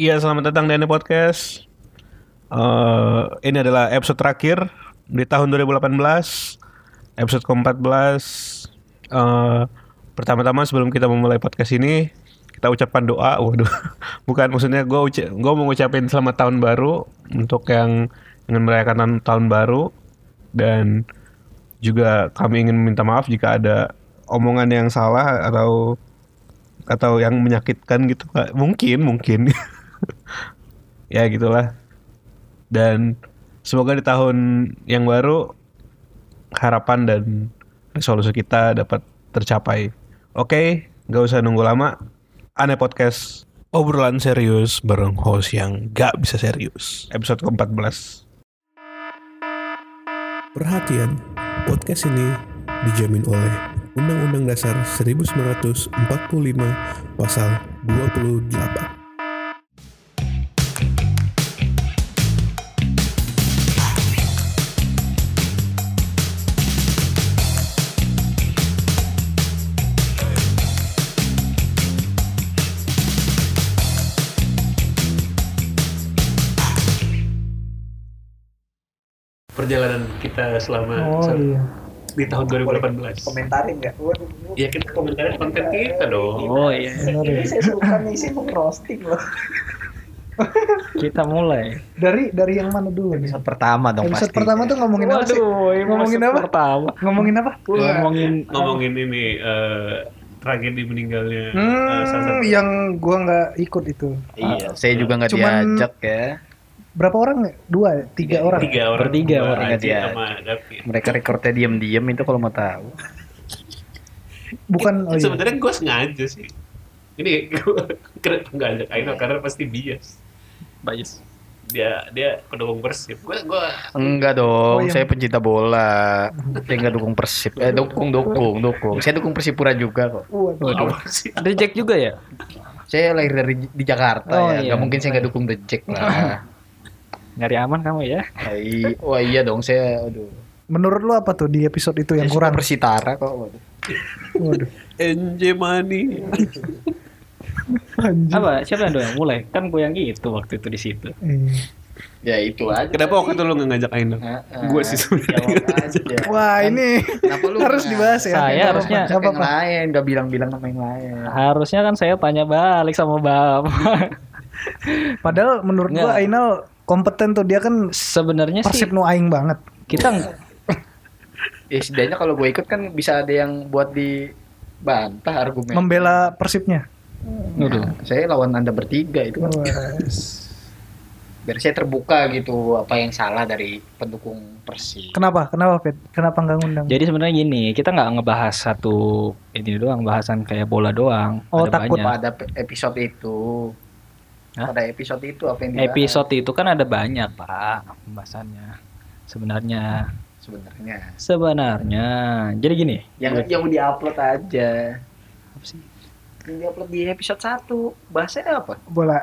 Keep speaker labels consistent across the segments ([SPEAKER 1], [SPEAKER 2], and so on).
[SPEAKER 1] Iya, selamat datang di Ane Podcast. Eh, ini adalah episode terakhir di tahun 2018, episode ke-14. Eh, pertama-tama sebelum kita memulai podcast ini, kita ucapkan doa. Waduh, bukan maksudnya gue gue mau ngucapin selamat tahun baru untuk yang ingin merayakan tahun- tahun baru dan juga kami ingin meminta maaf jika ada omongan yang salah atau atau yang menyakitkan gitu Pak. mungkin mungkin ya gitulah dan semoga di tahun yang baru harapan dan resolusi kita dapat tercapai oke nggak usah nunggu lama aneh podcast obrolan serius bareng host yang gak bisa serius episode ke-14
[SPEAKER 2] Perhatian, podcast ini dijamin oleh Undang-Undang Dasar 1945 Pasal 28.
[SPEAKER 3] perjalanan kita selama
[SPEAKER 4] Oh
[SPEAKER 3] se-
[SPEAKER 4] iya.
[SPEAKER 3] di tahun 2018.
[SPEAKER 5] komentarin nggak? Waduh,
[SPEAKER 3] Ya kita komentarin konten kita dong.
[SPEAKER 4] Oh iya. Bener
[SPEAKER 5] ini
[SPEAKER 4] ya.
[SPEAKER 5] saya suka nih sih roasting loh.
[SPEAKER 4] Kita mulai.
[SPEAKER 6] dari dari yang mana dulu nih?
[SPEAKER 5] Episode pertama dong
[SPEAKER 6] Episode
[SPEAKER 5] pasti.
[SPEAKER 6] pertama tuh ngomongin apa sih?
[SPEAKER 4] yang
[SPEAKER 6] Ngomongin
[SPEAKER 4] masuk
[SPEAKER 6] apa?
[SPEAKER 4] Pertama.
[SPEAKER 6] Ngomongin apa?
[SPEAKER 4] Ngomongin
[SPEAKER 3] Ngomongin ini eh, tragedi meninggalnya eh, salah
[SPEAKER 6] Hmm,
[SPEAKER 3] satu-
[SPEAKER 6] yang gua nggak ikut itu.
[SPEAKER 5] Iya,
[SPEAKER 4] Ah,
[SPEAKER 5] saya juga nggak
[SPEAKER 6] Cuman-
[SPEAKER 5] diajak ya.
[SPEAKER 6] Berapa orang? ya? Dua, ya? tiga orang.
[SPEAKER 3] tiga orang
[SPEAKER 4] Bertiga
[SPEAKER 3] Gua,
[SPEAKER 4] orang. ya.
[SPEAKER 3] Aji,
[SPEAKER 5] Iya.
[SPEAKER 3] sama David.
[SPEAKER 5] Mereka rekornya diem-diem itu kalau mau tahu.
[SPEAKER 6] Bukan oh iya.
[SPEAKER 3] Sebenarnya gue sengaja sih. Ini gue kenapa nggak ajak Aino karena pasti bias.
[SPEAKER 4] bias.
[SPEAKER 3] Dia dia pendukung Persib. Gue gue
[SPEAKER 5] Enggak dong,
[SPEAKER 6] Oh, iya.
[SPEAKER 5] saya pencinta bola. saya nggak dukung Persib. Eh dukung dukung dukung. Saya dukung Persipura juga kok.
[SPEAKER 6] Waduh.
[SPEAKER 3] apa sih?
[SPEAKER 4] Ada Jack juga ya?
[SPEAKER 5] Saya lahir dari di Jakarta
[SPEAKER 4] Oh,
[SPEAKER 5] ya.
[SPEAKER 4] iya.
[SPEAKER 5] Nggak mungkin saya nggak dukung The Jack lah.
[SPEAKER 4] Nyari aman kamu ya.
[SPEAKER 5] Hai, Wah iya dong saya aduh.
[SPEAKER 6] Menurut lu apa tuh di episode itu
[SPEAKER 5] Saya
[SPEAKER 6] yang
[SPEAKER 5] suka
[SPEAKER 6] kurang?
[SPEAKER 5] Persitara kok. Waduh.
[SPEAKER 6] Waduh.
[SPEAKER 3] NJ Money.
[SPEAKER 6] Anjing.
[SPEAKER 4] Apa? Siapa yang doang mulai? Kan gue yang gitu waktu itu di situ.
[SPEAKER 6] Iya.
[SPEAKER 5] Ya itu aja.
[SPEAKER 3] Kenapa waktu itu lo nggak ngajak Aino? Gua sih sebenarnya.
[SPEAKER 6] Wah, ini
[SPEAKER 5] Kenapa lu
[SPEAKER 6] harus
[SPEAKER 5] nggak-
[SPEAKER 6] dibahas ya.
[SPEAKER 4] Saya
[SPEAKER 6] Nggak
[SPEAKER 4] harusnya-
[SPEAKER 6] apa-apa, nggak
[SPEAKER 5] Siapa yang
[SPEAKER 6] apa-apa.
[SPEAKER 5] lain? Gak bilang-bilang sama yang lain.
[SPEAKER 4] Harusnya kan saya tanya balik sama Bapak.
[SPEAKER 6] Padahal menurut gua
[SPEAKER 4] Nggak.
[SPEAKER 6] Ainal kompeten tuh dia kan
[SPEAKER 4] Sebenarnya Iya sih
[SPEAKER 6] persib nu aing banget.
[SPEAKER 4] kita ng-
[SPEAKER 5] Ya setidaknya kalau gue ikut kan bisa ada yang buat dibantah argumen. Nah,
[SPEAKER 6] Membela persibnya.
[SPEAKER 4] Waduh.
[SPEAKER 5] saya lawan anda bertiga itu kan
[SPEAKER 6] Wah.
[SPEAKER 5] biar saya terbuka gitu apa yang salah dari pendukung Persib.
[SPEAKER 6] Kenapa? Kenapa, Pet? Kenapa nggak ngundang?
[SPEAKER 4] Jadi sebenarnya gini, kita nggak ngebahas satu ini doang, bahasan kayak bola doang.
[SPEAKER 6] Oh,
[SPEAKER 4] Ada
[SPEAKER 6] takut,
[SPEAKER 4] banyak.
[SPEAKER 5] Pada pe- episode itu.
[SPEAKER 4] Ya. Hah?
[SPEAKER 5] Pada episode itu apa yang dibahas
[SPEAKER 4] Episode itu kan ada banyak, Pak, pembahasannya. Sebenarnya
[SPEAKER 5] sebenarnya.
[SPEAKER 4] Sebenarnya, jadi gini.
[SPEAKER 5] Yang yang diupload aja.
[SPEAKER 4] Apa sih?
[SPEAKER 5] Yang diupload di episode 1. Bahasanya apa?
[SPEAKER 6] Bola.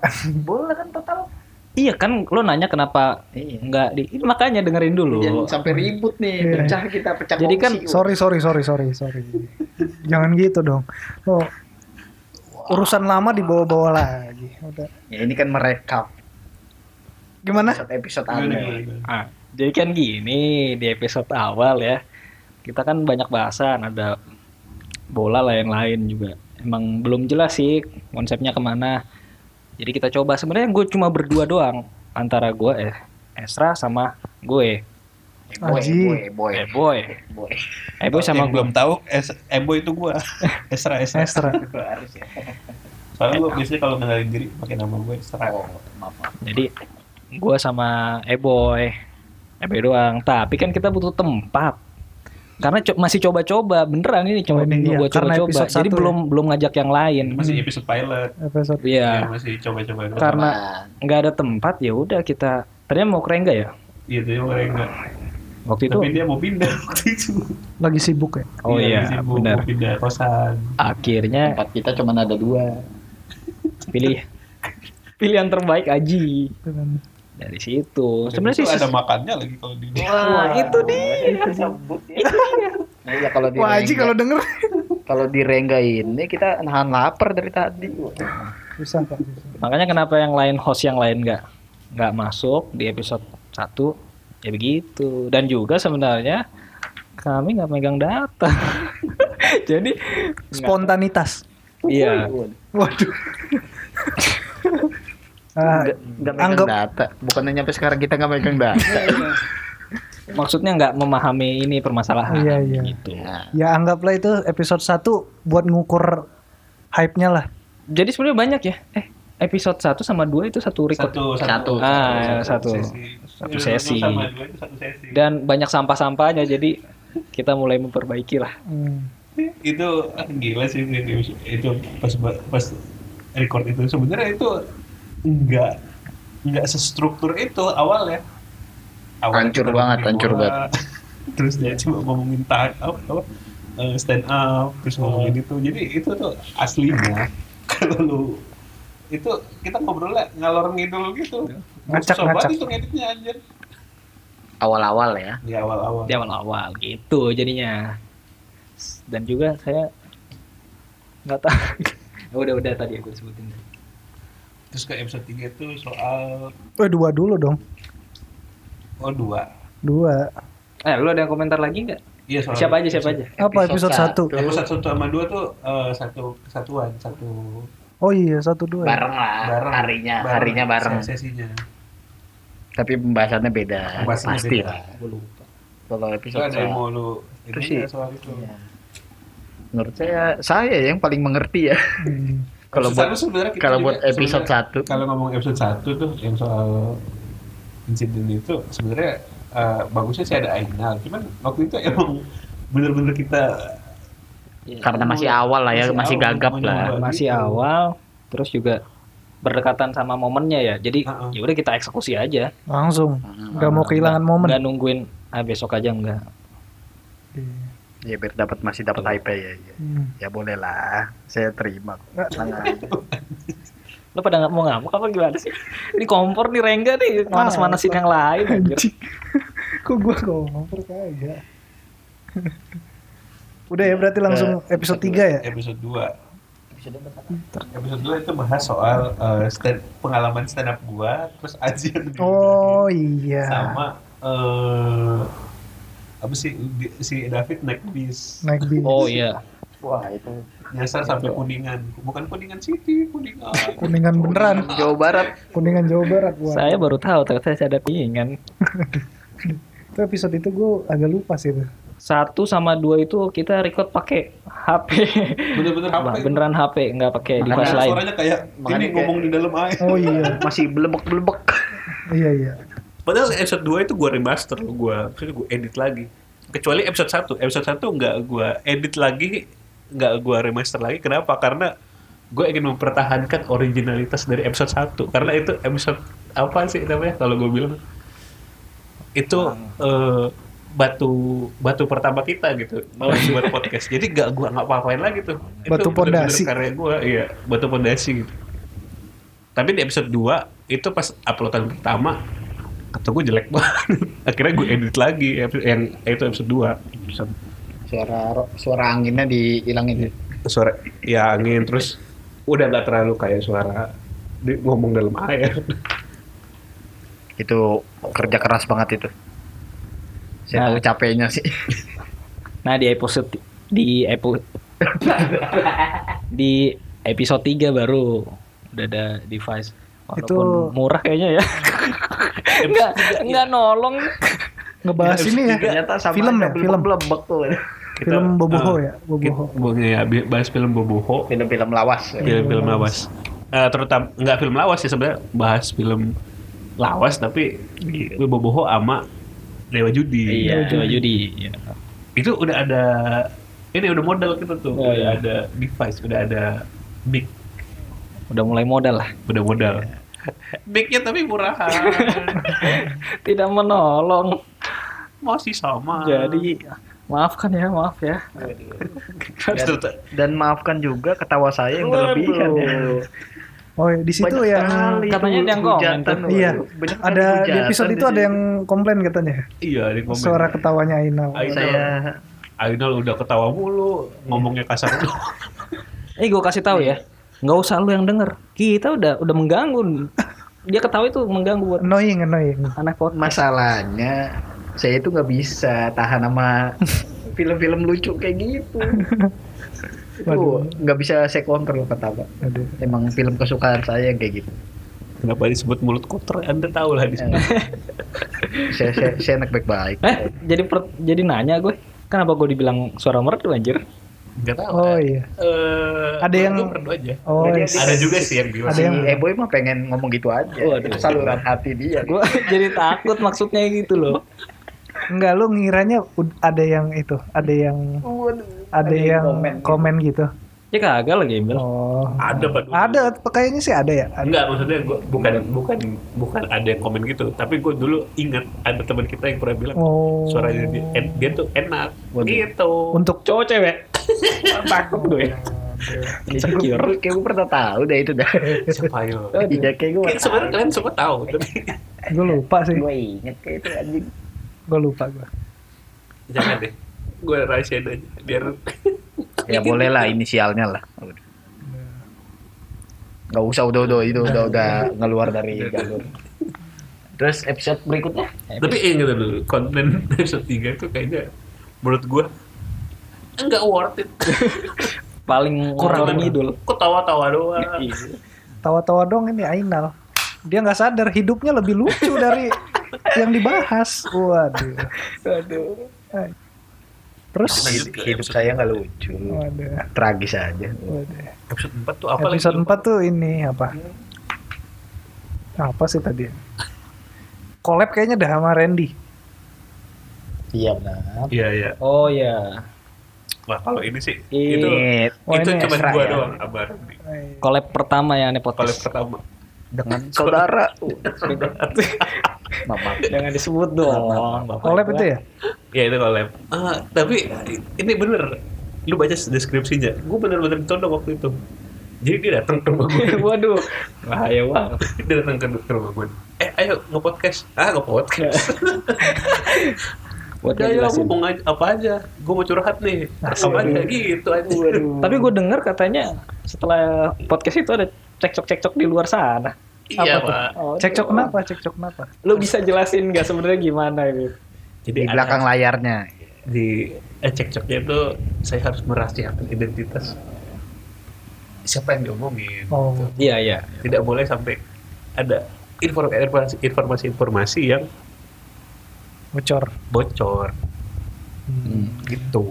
[SPEAKER 5] Bola kan total.
[SPEAKER 4] Iya kan, lo nanya kenapa
[SPEAKER 5] Iya.
[SPEAKER 4] nggak di? Ih, Makanya dengerin
[SPEAKER 5] Jangan
[SPEAKER 4] dulu.
[SPEAKER 5] sampai ribut nih,
[SPEAKER 6] Iya.
[SPEAKER 5] pecah kita pecah.
[SPEAKER 4] Jadi kan-
[SPEAKER 5] kongsi.
[SPEAKER 6] Sorry, sorry, sorry, sorry, sorry. Jangan gitu dong. Oh, urusan lama dibawa-bawa lagi. Udah.
[SPEAKER 5] Ya ini kan merekap
[SPEAKER 6] Gimana?
[SPEAKER 5] episode episode
[SPEAKER 3] Gimana,
[SPEAKER 5] aneh.
[SPEAKER 3] gimana?
[SPEAKER 4] Ah, jadi kan gini di episode awal ya, kita kan banyak bahasan ada bola lain-lain juga. Emang belum jelas sih konsepnya kemana. Jadi kita coba. Sebenarnya gue cuma berdua doang antara gue eh Esra sama gue.
[SPEAKER 5] Boy,
[SPEAKER 6] Aji.
[SPEAKER 5] boy, boy,
[SPEAKER 4] Eh boy,
[SPEAKER 5] boy.
[SPEAKER 4] eh boy sama
[SPEAKER 1] yang belum
[SPEAKER 4] gue.
[SPEAKER 1] tahu es Ebo itu gua Esra Esra,
[SPEAKER 6] Estra.
[SPEAKER 5] Gua harus ya.
[SPEAKER 1] soalnya gua biasanya kalau kenalin diri pakai nama gue Esra
[SPEAKER 5] Oh, maaf. maaf.
[SPEAKER 4] Jadi gue sama Eboy, Eboy doang. Tapi kan kita butuh tempat. Karena co- masih coba-coba, beneran ini
[SPEAKER 6] Oh,
[SPEAKER 4] coba
[SPEAKER 6] ini iya.
[SPEAKER 4] gua
[SPEAKER 6] Karena
[SPEAKER 4] coba-coba.
[SPEAKER 6] episode
[SPEAKER 4] Jadi
[SPEAKER 6] satu
[SPEAKER 4] belum belum ngajak yang lain.
[SPEAKER 1] masih episode pilot
[SPEAKER 6] Episode.
[SPEAKER 1] ya,
[SPEAKER 4] Iya,
[SPEAKER 1] masih coba-coba doang.
[SPEAKER 4] Karena-
[SPEAKER 5] Nah,
[SPEAKER 4] nggak ada tempat ya udah kita. Tadinya mau ke Rengga ya?
[SPEAKER 1] iya dia mereka
[SPEAKER 4] Waktu itu.
[SPEAKER 1] tapi dia mau pindah waktu itu
[SPEAKER 6] Lagi sibuk ya.
[SPEAKER 4] Oh
[SPEAKER 1] Dia
[SPEAKER 4] iya,
[SPEAKER 1] habis ibu
[SPEAKER 4] benar.
[SPEAKER 1] mau pindah kosan
[SPEAKER 4] Akhirnya
[SPEAKER 5] tempat kita cuma ada dua.
[SPEAKER 4] pilih pilihan terbaik Aji
[SPEAKER 6] Dengan-
[SPEAKER 4] dari situ.
[SPEAKER 1] Dan
[SPEAKER 4] Sebenarnya sih
[SPEAKER 1] itu ada
[SPEAKER 4] ses-
[SPEAKER 1] makannya lagi kalau di
[SPEAKER 4] Wah, itu dia.
[SPEAKER 5] Nah, ya kalau di
[SPEAKER 6] Wah, Aji
[SPEAKER 5] Rengga-
[SPEAKER 6] kalau denger
[SPEAKER 5] kalau di Rengga ini kita nahan lapar dari tadi.
[SPEAKER 6] Bisa Pak. Bisa.
[SPEAKER 4] Makanya kenapa yang lain host yang lain nggak nggak masuk di episode 1 ya begitu. Dan juga sebenarnya kami nggak megang data. Jadi nggak-
[SPEAKER 6] Spontanitas.
[SPEAKER 4] iya
[SPEAKER 6] Waduh. Ah,
[SPEAKER 5] Nggak nggak megang
[SPEAKER 6] Anggap-
[SPEAKER 5] data. Bukannya nyampe sekarang kita nggak megang data.
[SPEAKER 4] maksudnya nggak memahami ini permasalahan
[SPEAKER 6] Iya, iya.
[SPEAKER 4] gitu.
[SPEAKER 6] ya anggaplah itu episode 1 buat ngukur hype-nya lah.
[SPEAKER 4] Jadi sebenarnya banyak ya. Eh episode 1 sama 2 itu satu record.
[SPEAKER 3] Satu,
[SPEAKER 5] Satu.
[SPEAKER 4] ah, satu. Satu sesi. Dan banyak sampah-sampahnya jadi kita mulai memperbaiki lah.
[SPEAKER 6] Hmm.
[SPEAKER 3] itu ah, gila sih itu, itu pas pas record itu sebenarnya itu enggak enggak sestruktur itu awalnya
[SPEAKER 5] Hancur banget, hancur banget.
[SPEAKER 3] terus dia cuma ngomongin tahan apa, apa, eh, stand up terus ngomongin itu jadi itu tuh aslinya kalau lu itu kita ngobrolnya ngalor ngidul gitu
[SPEAKER 6] Ngacak,
[SPEAKER 3] Susah banget
[SPEAKER 6] ngacak.
[SPEAKER 3] itu ngeditnya anjir
[SPEAKER 5] Awal-awal ya.
[SPEAKER 3] di awal-awal
[SPEAKER 4] di awal-awal gitu jadinya dan juga saya nggak tahu Ya udah udah tadi aku sebutin
[SPEAKER 3] terus ke episode 3 itu soal
[SPEAKER 6] Eh dua dulu dong.
[SPEAKER 3] oh dua
[SPEAKER 6] Dua.
[SPEAKER 4] eh lu ada komentar lagi nggak
[SPEAKER 3] iya soal
[SPEAKER 4] siapa aja siapa aja
[SPEAKER 6] Apa episode,
[SPEAKER 5] Episode
[SPEAKER 6] satu?
[SPEAKER 5] satu.
[SPEAKER 3] Aku satu sama dua tuh eh, satu kesatuan, satu
[SPEAKER 6] Oh iya, satu dua. ya.
[SPEAKER 5] Bareng lah.
[SPEAKER 3] bareng.
[SPEAKER 5] Ah, Harinya,
[SPEAKER 3] bareng, Iya,
[SPEAKER 5] harinya bareng.
[SPEAKER 3] ses- Sesinya.
[SPEAKER 5] Tapi pembahasannya beda.
[SPEAKER 3] Pembahasannya
[SPEAKER 5] Pasti
[SPEAKER 3] beda.
[SPEAKER 5] lah.
[SPEAKER 4] Gua lupa
[SPEAKER 5] Kalau
[SPEAKER 3] Itu
[SPEAKER 5] episode
[SPEAKER 3] ada yang
[SPEAKER 5] satu.
[SPEAKER 3] mau lu
[SPEAKER 5] Terus
[SPEAKER 3] ini nggak
[SPEAKER 5] sih.
[SPEAKER 3] soal itu.
[SPEAKER 5] Iya. Menurut saya, saya yang paling mengerti ya.
[SPEAKER 6] Hmm.
[SPEAKER 5] Kalau
[SPEAKER 3] Episode
[SPEAKER 5] buat
[SPEAKER 3] satu sebenarnya kita
[SPEAKER 5] kalau
[SPEAKER 3] juga
[SPEAKER 5] buat episode
[SPEAKER 3] sebenarnya-
[SPEAKER 5] satu.
[SPEAKER 3] Kalau ngomong episode satu tuh yang soal insiden itu sebenarnya eh, bagusnya sih ada Ainal. Cuman waktu itu emang bener-bener kita
[SPEAKER 4] Iya.
[SPEAKER 5] karena masih awal lah ya,
[SPEAKER 3] Masih
[SPEAKER 5] masih,
[SPEAKER 3] awal,
[SPEAKER 5] gagap
[SPEAKER 3] mau
[SPEAKER 5] lah.
[SPEAKER 3] nyoba.
[SPEAKER 4] masih
[SPEAKER 3] Gitu.
[SPEAKER 4] awal terus juga berdekatan sama momennya ya jadi
[SPEAKER 3] Ha-ha.
[SPEAKER 4] ya udah kita eksekusi aja
[SPEAKER 6] Langsung.
[SPEAKER 5] Hmm,
[SPEAKER 6] Gak mau kehilangan momen.
[SPEAKER 4] nggak nungguin ah besok aja enggak
[SPEAKER 6] Iya.
[SPEAKER 5] Ya biar dapat masih dapat hype ya. ya.
[SPEAKER 6] Hmm.
[SPEAKER 5] Ya boleh lah, saya terima. kok. Tenang aja.
[SPEAKER 4] lu pada nggak mau ngamuk apa gimana sih ini kompor nih rengga nih manas-manasin yang lain anjir.
[SPEAKER 6] Kok gua ngompor kagak. Udah ya berarti langsung episode 3 ya?
[SPEAKER 3] episode 2 episode 2 itu bahas soal eh, stand, pengalaman stand up gua terus Aji yang diundangin.
[SPEAKER 6] Oh iya.
[SPEAKER 3] sama eh apa sih di- si David naik bis
[SPEAKER 6] Naik bis.
[SPEAKER 4] oh iya
[SPEAKER 5] Wah itu
[SPEAKER 3] nyasar sampai kuningan bukan kuningan city kuningan
[SPEAKER 6] Kuningan beneran.
[SPEAKER 5] Jawa Barat.
[SPEAKER 6] Kuningan Jawa Barat gua.
[SPEAKER 4] saya baru tahu ternyata saya ada pingingan
[SPEAKER 6] Itu episode itu gua agak lupa sih itu.
[SPEAKER 4] satu sama dua itu kita record pakai HP
[SPEAKER 3] bener-bener apa
[SPEAKER 4] Wah,
[SPEAKER 3] itu?
[SPEAKER 4] beneran HP nggak pakai
[SPEAKER 5] Makanya
[SPEAKER 4] device lain
[SPEAKER 3] suaranya kayak
[SPEAKER 5] Makanya
[SPEAKER 3] ini
[SPEAKER 5] kayak-
[SPEAKER 3] ngomong di dalam air
[SPEAKER 6] Oh iya,
[SPEAKER 5] Masih belebek-belebek.
[SPEAKER 6] iya iya.
[SPEAKER 3] padahal episode 2 itu gua remaster gua maksudnya gua edit lagi kecuali episode 1 episode 1 nggak gua edit lagi nggak gua remaster lagi kenapa karena gue ingin mempertahankan originalitas dari episode 1 karena itu episode apa sih namanya kalau gue bilang itu eh, batu batu pertama kita gitu malah buat podcast jadi nggak gua nggak apa-apain lagi tuh Itu
[SPEAKER 6] Batu
[SPEAKER 3] bener-bener
[SPEAKER 6] pondasi.
[SPEAKER 3] karya gue iya batu pondasi gitu tapi di episode 2 itu pas uploadan pertama kata gue jelek banget akhirnya gue edit lagi epi- yang Eh, itu episode 2
[SPEAKER 5] Suara suara anginnya dihilangin. ya.
[SPEAKER 3] suara ya angin terus udah nggak terlalu kayak suara di, ngomong dalam air
[SPEAKER 5] Itu kerja keras banget itu. Saya
[SPEAKER 4] Nah.
[SPEAKER 5] tahu capeknya sih.
[SPEAKER 4] nah di episode di episode di episode 3 baru udah ada device walaupun
[SPEAKER 6] Itu-
[SPEAKER 4] murah kayaknya ya nggak nggak nolong
[SPEAKER 6] Ngebahas ini ya. Film ya, film.
[SPEAKER 5] belebek tuh.
[SPEAKER 6] Film Boboho ya, Boboho.
[SPEAKER 3] Boboho ya bi- bahas film Boboho
[SPEAKER 5] Film-film lawas. ya.
[SPEAKER 3] film-film lawas Eh, terutama nggak film lawas sih sebenarnya bahas film lawas tapi di Boboho sama Dewa Judi
[SPEAKER 4] iya Dewa judi iya.
[SPEAKER 3] itu udah ada ini udah modal kita tuh
[SPEAKER 4] Oh,
[SPEAKER 3] udah
[SPEAKER 4] iya.
[SPEAKER 3] ada device udah ada mic
[SPEAKER 4] udah mulai modal lah
[SPEAKER 3] udah modal Iya. micnya tapi murahan
[SPEAKER 4] tidak menolong
[SPEAKER 3] masih sama
[SPEAKER 4] jadi maafkan ya maaf ya
[SPEAKER 3] Terus terus-
[SPEAKER 5] Dan maafkan juga ketawa saya yang berlebihan ya.
[SPEAKER 6] Oh, iya, di situ
[SPEAKER 5] Banyak
[SPEAKER 6] yang
[SPEAKER 5] sekali itu
[SPEAKER 4] Katanya ada yang
[SPEAKER 5] hujatan,
[SPEAKER 4] komen
[SPEAKER 5] waduh.
[SPEAKER 6] Iya.
[SPEAKER 5] Banyak sekali
[SPEAKER 6] ada di
[SPEAKER 5] hujatan
[SPEAKER 6] episode itu
[SPEAKER 5] di
[SPEAKER 6] ada
[SPEAKER 5] sini.
[SPEAKER 6] yang komplain katanya.
[SPEAKER 3] iya di komen
[SPEAKER 6] Suara ketawanya Ainal.
[SPEAKER 3] Ainal.
[SPEAKER 5] saya
[SPEAKER 3] Ainul udah ketawa mulu ngomongnya kasar
[SPEAKER 4] eh gue kasih tahu ya nggak usah lu yang denger kita udah udah mengganggu dia ketahui itu mengganggu buat
[SPEAKER 6] Annoying, annoying.
[SPEAKER 4] anak podcast
[SPEAKER 5] Masalahnya saya itu nggak bisa tahan sama film-film lucu kayak gitu. Itu nggak bisa saya kontrol kata Pak.
[SPEAKER 6] Aduh.
[SPEAKER 5] Emang film kesukaan saya yang kayak gitu.
[SPEAKER 7] Kenapa disebut mulut kotor? Anda tahu lah disebut.
[SPEAKER 5] Saya saya, saya anak baik-baik.
[SPEAKER 4] eh jadi per- jadi nanya gue kenapa gue dibilang suara merdu anjir
[SPEAKER 7] Enggak tahu.
[SPEAKER 6] Oh
[SPEAKER 7] kan?
[SPEAKER 6] iya.
[SPEAKER 7] Eh,
[SPEAKER 6] Ada
[SPEAKER 7] gua-
[SPEAKER 6] yang-
[SPEAKER 7] gua merdu aja.
[SPEAKER 6] Oh,
[SPEAKER 5] Jadi
[SPEAKER 6] yes.
[SPEAKER 7] Ada juga sih yang bilang.
[SPEAKER 6] Ada
[SPEAKER 5] Si
[SPEAKER 6] yang-
[SPEAKER 5] Eboy mah pengen ngomong gitu aja.
[SPEAKER 4] Waduh.
[SPEAKER 5] Itu saluran hati dia.
[SPEAKER 4] gue jadi takut maksudnya gitu loh
[SPEAKER 6] Enggak, lu ngiranya ud- ada yang itu, ada yang ada yang komen, gitu.
[SPEAKER 4] ya kagak lagi Emil
[SPEAKER 6] Oh.
[SPEAKER 7] Ada Pak. dulu.
[SPEAKER 6] Ada, kayaknya sih ada ya. Ada.
[SPEAKER 7] Enggak, maksudnya gua bukan bukan bukan ada yang komen gitu, tapi gue dulu ingat ada teman kita yang pernah bilang
[SPEAKER 6] Oh.
[SPEAKER 7] suaranya dia, en- dia tuh enak gitu.
[SPEAKER 6] Untuk
[SPEAKER 4] cowok cewek takut gue insecure
[SPEAKER 5] Insecure. Kayak gue pernah tahu deh itu dah.
[SPEAKER 7] siapa ya?
[SPEAKER 5] Iya kayak gue.
[SPEAKER 7] Kayak sebenarnya kalian semua tahu, tapi
[SPEAKER 6] gue lupa sih,
[SPEAKER 5] Gue inget kayak itu anjing.
[SPEAKER 6] gue lupa gue.
[SPEAKER 7] jangan deh. Gue rahasiain aja biar
[SPEAKER 5] Ya boleh lah inisialnya lah. Gak usah udah udah itu udah udah ngeluar dari jalur. Terus episode berikutnya?
[SPEAKER 7] tapi ingat dulu konten episode 3 itu kayaknya menurut gue enggak worth it.
[SPEAKER 4] paling kurang ngidul
[SPEAKER 7] Kok tawa-tawa doang.
[SPEAKER 6] Iya. Tawa-tawa dong ini Ainal. Dia nggak sadar hidupnya lebih lucu dari yang dibahas. Waduh. Waduh. Terus,
[SPEAKER 7] Lanjut ke
[SPEAKER 5] Hidup
[SPEAKER 7] episode
[SPEAKER 5] saya nggak lucu,
[SPEAKER 6] waduh,
[SPEAKER 5] tragis aja.
[SPEAKER 6] waduh.
[SPEAKER 7] Episode 4 tuh apa lagi?
[SPEAKER 6] Episode 4 tuh ini apa? Apa sih tadi? Collab kayaknya dah sama Randy.
[SPEAKER 5] Iya benar.
[SPEAKER 7] Iya, iya.
[SPEAKER 4] oh ya
[SPEAKER 7] Wah, kalau ini sih
[SPEAKER 4] Iya.
[SPEAKER 7] itu
[SPEAKER 3] Oh,
[SPEAKER 6] Wah,
[SPEAKER 7] itu
[SPEAKER 6] ini
[SPEAKER 7] cuma
[SPEAKER 5] extra
[SPEAKER 7] gua
[SPEAKER 5] ya.
[SPEAKER 7] doang kabar.
[SPEAKER 4] collab pertama ya nih
[SPEAKER 7] Paling
[SPEAKER 4] podcast
[SPEAKER 7] pertama.
[SPEAKER 5] dengan saudara. Uh, Mama.
[SPEAKER 4] jangan disebut dong Oh, Bapak
[SPEAKER 6] Collab
[SPEAKER 4] gua.
[SPEAKER 6] itu ya?
[SPEAKER 7] Ya itu collab. Ah, tapi ini bener. Lu baca deskripsinya. Gue bener-bener ditodong waktu itu. Jadi dia datang ke rumah gue.
[SPEAKER 4] waduh bahaya banget
[SPEAKER 7] dia datang ke ke rumah gue. Eh, ayo nge-podcast. Ah, nge-podcast.
[SPEAKER 4] buat
[SPEAKER 7] Ya, ya,
[SPEAKER 4] ngejelasin
[SPEAKER 7] gue mau ngaj- apa aja. Gue mau curhat nih. Apa aja gitu aja.
[SPEAKER 4] tapi gue dengar katanya setelah podcast itu ada cekcok-cekcok di luar sana
[SPEAKER 6] Apa
[SPEAKER 7] Iya,
[SPEAKER 6] tuh?
[SPEAKER 7] Pak.
[SPEAKER 4] Oh,
[SPEAKER 6] Cekcok kenapa? Cekcok kenapa?
[SPEAKER 4] lu bisa jelasin nggak sebenarnya gimana gitu? ini
[SPEAKER 7] Jadi
[SPEAKER 5] Di
[SPEAKER 7] ada-
[SPEAKER 5] belakang layarnya.
[SPEAKER 7] di eh, cekcoknya itu saya harus merahasiakan identitas siapa yang diomongin
[SPEAKER 6] Oh.
[SPEAKER 7] gitu.
[SPEAKER 4] iya iya
[SPEAKER 7] tidak boleh sampai ada inform- informasi informasi informasi yang
[SPEAKER 6] Bocor.
[SPEAKER 7] bocor gitu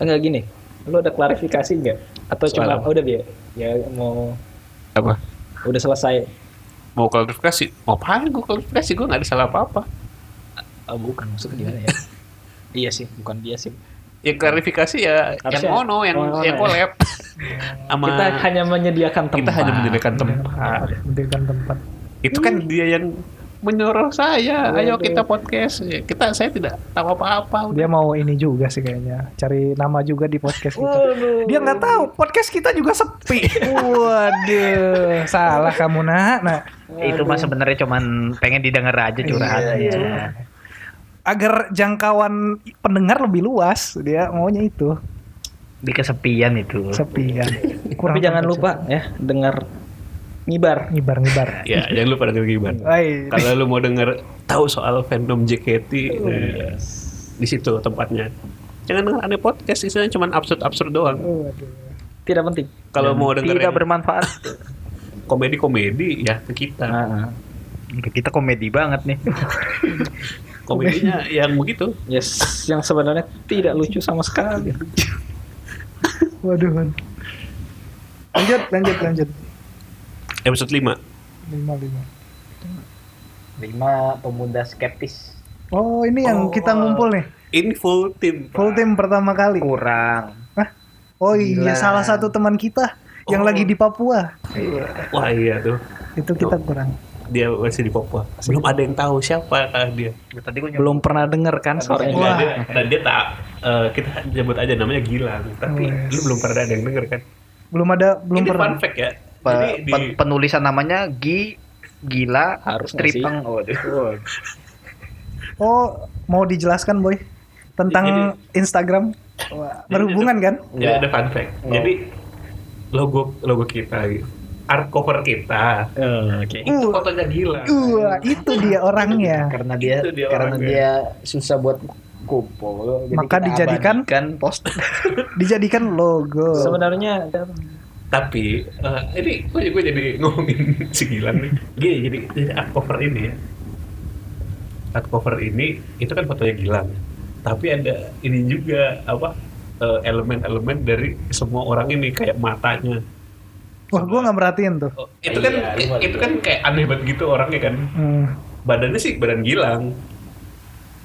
[SPEAKER 4] enggak gini lu ada klarifikasi nggak atau
[SPEAKER 7] Soal
[SPEAKER 4] cuma
[SPEAKER 7] apa?
[SPEAKER 4] oh, udah biar ya mau
[SPEAKER 7] apa
[SPEAKER 4] udah selesai
[SPEAKER 7] mau klarifikasi mau apa gue klarifikasi gue nggak ada salah apa apa
[SPEAKER 4] oh, bukan maksudnya gimana ya iya sih bukan dia sih
[SPEAKER 7] ya klarifikasi ya
[SPEAKER 4] Harusnya-
[SPEAKER 7] yang mono yang
[SPEAKER 4] Oh,
[SPEAKER 7] yang
[SPEAKER 4] ya.
[SPEAKER 7] collab sama
[SPEAKER 4] kita hanya menyediakan tempat
[SPEAKER 7] kita hanya menyediakan tempat
[SPEAKER 4] Ah.
[SPEAKER 6] Mendirikan kan tempat.
[SPEAKER 7] itu kan dia yang menyuruh saya ayo kita podcast kita saya tidak tahu apa-apa
[SPEAKER 6] Dia mau ini juga sih kayaknya. Cari nama juga di podcast kita.
[SPEAKER 4] Waduh.
[SPEAKER 6] Dia nggak tahu podcast kita juga sepi. Waduh, salah kamu nak. Nah,
[SPEAKER 5] Itu mah sebenarnya cuman pengen didengar aja curhatnya.
[SPEAKER 6] agar jangkauan pendengar lebih luas, dia maunya itu
[SPEAKER 5] Di kesepian itu.
[SPEAKER 6] sepi kan.
[SPEAKER 4] tapi jangan lupa ya dengar ngibar
[SPEAKER 6] ngibar ngibar.
[SPEAKER 7] ya jangan lupa dengerin Gibar
[SPEAKER 6] Hai.
[SPEAKER 7] kalau lu mau denger tahu soal fandom JKT
[SPEAKER 6] Oh,
[SPEAKER 7] eh, di situ tempatnya jangan denger aneh podcast isinya cuma absurd absurd doang
[SPEAKER 6] Waduh.
[SPEAKER 4] tidak penting
[SPEAKER 7] kalau mau
[SPEAKER 6] Iya,
[SPEAKER 7] denger
[SPEAKER 5] Tidak bermanfaat.
[SPEAKER 7] komedi komedi ya ke kita
[SPEAKER 6] Nah.
[SPEAKER 4] Ah, ah.
[SPEAKER 5] Kita komedi banget nih.
[SPEAKER 7] komedinya yang begitu
[SPEAKER 4] yes yang sebenarnya tidak lucu sama sekali
[SPEAKER 6] Waduh. Lanjut, lanjut, lanjut.
[SPEAKER 7] episode 5
[SPEAKER 6] Lima, lima.
[SPEAKER 5] Lima pemuda skeptis.
[SPEAKER 6] Oh, ini yang kita ngumpul nih.
[SPEAKER 7] ini full team Pak.
[SPEAKER 6] Full team pertama kali.
[SPEAKER 5] Kurang.
[SPEAKER 6] Oh iya,
[SPEAKER 5] Gila.
[SPEAKER 6] salah satu teman kita yang
[SPEAKER 7] Oh.
[SPEAKER 6] lagi di Papua.
[SPEAKER 7] wah iya tuh
[SPEAKER 6] Itu kita kurang.
[SPEAKER 7] dia masih di Papua belum ada yang tahu siapa kah dia
[SPEAKER 5] Tadi gue
[SPEAKER 4] belum pernah dengar kan suaranya
[SPEAKER 7] Nggak
[SPEAKER 6] Wah.
[SPEAKER 7] ada. dan dia tak eh, kita sebut aja namanya Gilang tapi
[SPEAKER 6] Wes.
[SPEAKER 7] lu belum pernah ada yang denger kan
[SPEAKER 6] Oh, Belum ada, belum
[SPEAKER 7] ini
[SPEAKER 6] pernah.
[SPEAKER 7] fun fact ya jadi
[SPEAKER 5] Pe-
[SPEAKER 7] di
[SPEAKER 5] pen- penulisan namanya Gi Gila
[SPEAKER 4] Harus nggak sih?
[SPEAKER 5] Tripeng. Waduh.
[SPEAKER 6] Oh, mau dijelaskan, Boy? Tentang Instagram? Wah, berhubungan kan?
[SPEAKER 7] Jadi ada fun fact. Jadi logo logo kita gitu. Art cover kita.
[SPEAKER 4] Oke.
[SPEAKER 7] ya, Itu fotonya gila.
[SPEAKER 6] Wah, Uh, itu dia orangnya.
[SPEAKER 5] karena dia,
[SPEAKER 7] Itu Gitu dia
[SPEAKER 5] karena
[SPEAKER 7] orangnya.
[SPEAKER 5] dia susah buat kumpul jadi
[SPEAKER 6] Maka
[SPEAKER 5] kita
[SPEAKER 6] dijadikan-
[SPEAKER 5] abadikan poster
[SPEAKER 6] Dijadikan logo.
[SPEAKER 4] Sebenarnya ada-
[SPEAKER 7] Tapi eh, ini gue, gue jadi ngomongin si Gilang nih. Gini, jadi, jadi art cover ini ya. Art cover ini itu kan fotonya Gilang. Tapi ada ini juga apa eh, elemen-elemen dari semua orang ini kayak matanya.
[SPEAKER 6] Wah, gua nggak merhatiin tuh.
[SPEAKER 7] Oh, itu kan itu kan kayak aneh banget gitu orangnya kan.
[SPEAKER 6] Hmm.
[SPEAKER 7] Badannya sih badan Gilang.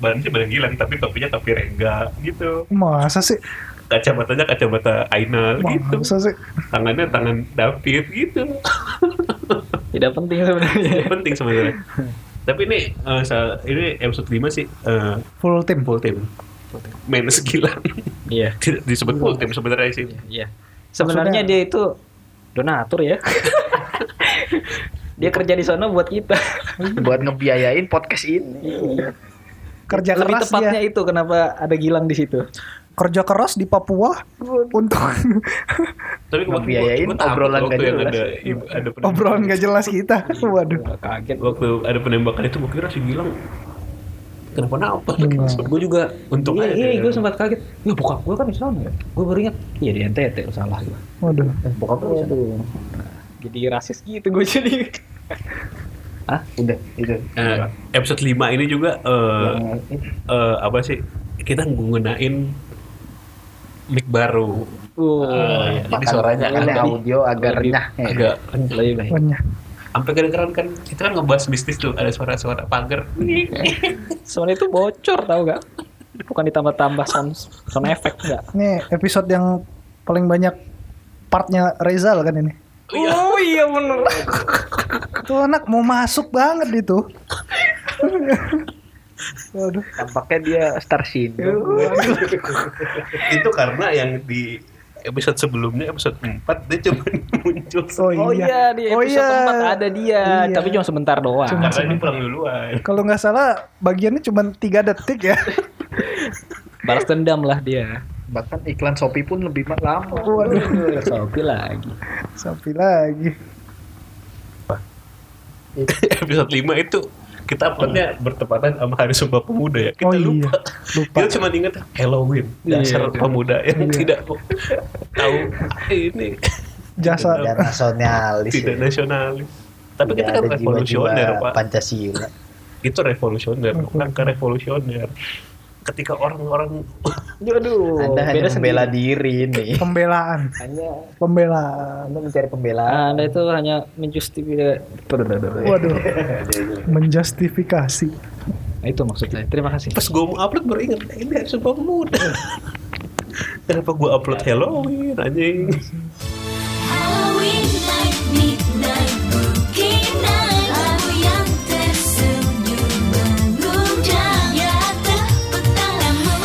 [SPEAKER 7] Badannya badan Gilang tapi topinya topi Rengga gitu.
[SPEAKER 6] Masa sih?
[SPEAKER 7] Kacamatanya kacamata Ainal gitu.
[SPEAKER 6] Masa sih?
[SPEAKER 7] Tangannya tangan David gitu.
[SPEAKER 4] tidak penting sebenarnya.
[SPEAKER 7] Itu penting sebenarnya. Tapi ini eh, sa- ini episode 5 sih eh,
[SPEAKER 6] Full tim.
[SPEAKER 7] full team. Minus gila.
[SPEAKER 4] Iya.
[SPEAKER 7] Tidak disebut full team sebenarnya sih.
[SPEAKER 4] Iya. Sebenarnya dia itu donatur ya. dia kerja di sana buat kita.
[SPEAKER 5] buat ngebiayain podcast ini
[SPEAKER 6] Kerja
[SPEAKER 4] Lebih
[SPEAKER 6] keras
[SPEAKER 4] tepatnya
[SPEAKER 6] dia.
[SPEAKER 4] itu kenapa ada Gilang di situ.
[SPEAKER 6] Kerja keras di Papua untuk
[SPEAKER 7] Tapi gua- gua-
[SPEAKER 5] Ngebiayain
[SPEAKER 7] gua takut
[SPEAKER 5] obrolan
[SPEAKER 7] waktu
[SPEAKER 5] gak
[SPEAKER 7] yang
[SPEAKER 5] jelas.
[SPEAKER 7] ada ibu- ada penembakan.
[SPEAKER 6] obrolan gak jelas kita.
[SPEAKER 4] Iya,
[SPEAKER 6] Waduh.
[SPEAKER 4] Gua Kaget gua.
[SPEAKER 7] Waktu ada penembakan itu gua kira si Gilang kenapa napa
[SPEAKER 6] Enggak.
[SPEAKER 7] Gue juga untung
[SPEAKER 4] iya,
[SPEAKER 7] aja.
[SPEAKER 4] iya,
[SPEAKER 7] dia.
[SPEAKER 4] gue sempat kaget. Ya bokap gue kan di sana ya. Gue baru ingat, iya di NTT salah gue.
[SPEAKER 6] Waduh.
[SPEAKER 4] Bokap gue di sana. Nah, Jadi rasis gitu gue jadi.
[SPEAKER 5] udah itu
[SPEAKER 7] Eh, episode 5 ini juga eh,
[SPEAKER 5] Yang itu.
[SPEAKER 7] eh, apa sih? Kita menggunain mic baru.
[SPEAKER 4] Uh,
[SPEAKER 5] iya.
[SPEAKER 7] Eh, jadi suaranya
[SPEAKER 5] Makanya
[SPEAKER 7] agak
[SPEAKER 5] audio agak
[SPEAKER 4] lebih-
[SPEAKER 5] renyah ya.
[SPEAKER 7] agak
[SPEAKER 4] lebih baik.
[SPEAKER 6] Banyak.
[SPEAKER 7] sampai kedengeran kan kita kan ngebahas bisnis tuh ada suara-suara pagar
[SPEAKER 4] Soalnya itu bocor tau gak? Bukan ditambah-tambah sound, sound effect gak?
[SPEAKER 6] Ini episode yang paling banyak partnya Rezal kan ini.
[SPEAKER 4] Oh iya bener.
[SPEAKER 6] Itu anak mau masuk banget itu. Waduh.
[SPEAKER 5] tampaknya dia star syndrome
[SPEAKER 7] itu karena yang di episode sebelumnya episode 4 dia cuma muncul
[SPEAKER 4] Oh iya, di episode keempat ada dia,
[SPEAKER 6] Iya.
[SPEAKER 4] tapi cuma sebentar doang.
[SPEAKER 6] Cuma
[SPEAKER 7] karena dia pulang duluan
[SPEAKER 6] Kalau nggak salah bagiannya cuma tiga detik ya.
[SPEAKER 4] Balas dendam lah dia.
[SPEAKER 5] bahkan iklan Shopee pun lebih ma- lama
[SPEAKER 6] Waduh.
[SPEAKER 4] Sopi lagi.
[SPEAKER 6] Sampai lagi.
[SPEAKER 7] episode 5 itu kita uploadnya bertepatan sama hari Sumpah Pemuda ya kita
[SPEAKER 6] Oh iya,
[SPEAKER 7] lupa
[SPEAKER 6] lupa.
[SPEAKER 7] kita cuma inget Halloween dasar
[SPEAKER 4] Iya.
[SPEAKER 7] pemuda yang
[SPEAKER 6] Iya.
[SPEAKER 7] tidak tahu "Ah, ini
[SPEAKER 6] Jasa.
[SPEAKER 4] Iya.
[SPEAKER 7] Tidak
[SPEAKER 5] ya nasionalis
[SPEAKER 7] tidak
[SPEAKER 5] ya.
[SPEAKER 7] nasionalis tapi kita
[SPEAKER 5] Tidak
[SPEAKER 7] kan
[SPEAKER 5] ada
[SPEAKER 7] revolusioner
[SPEAKER 5] jiwa-jiwa
[SPEAKER 7] pak
[SPEAKER 5] Pancasila
[SPEAKER 7] itu revolusioner langkah revolusioner ketika orang-orang oh,
[SPEAKER 4] Aduh,
[SPEAKER 5] Anda hanya membela diri nih
[SPEAKER 6] Pembelaan.
[SPEAKER 5] hanya
[SPEAKER 6] Pembelaan.
[SPEAKER 5] Anda mencari pembelaan
[SPEAKER 4] Anda itu hanya menjustifikasi.
[SPEAKER 6] Waduh. Menjustifikasi.
[SPEAKER 4] Nah, itu maksudnya. Terima kasih.
[SPEAKER 7] pas gue mau upload baru inget ini harus sumpah pemuda kenapa gue upload Halloween anjing
[SPEAKER 8] Halloween night, midnight, boogie night Lagu yang tersenyum mengundang Ya tepuk tanganmu,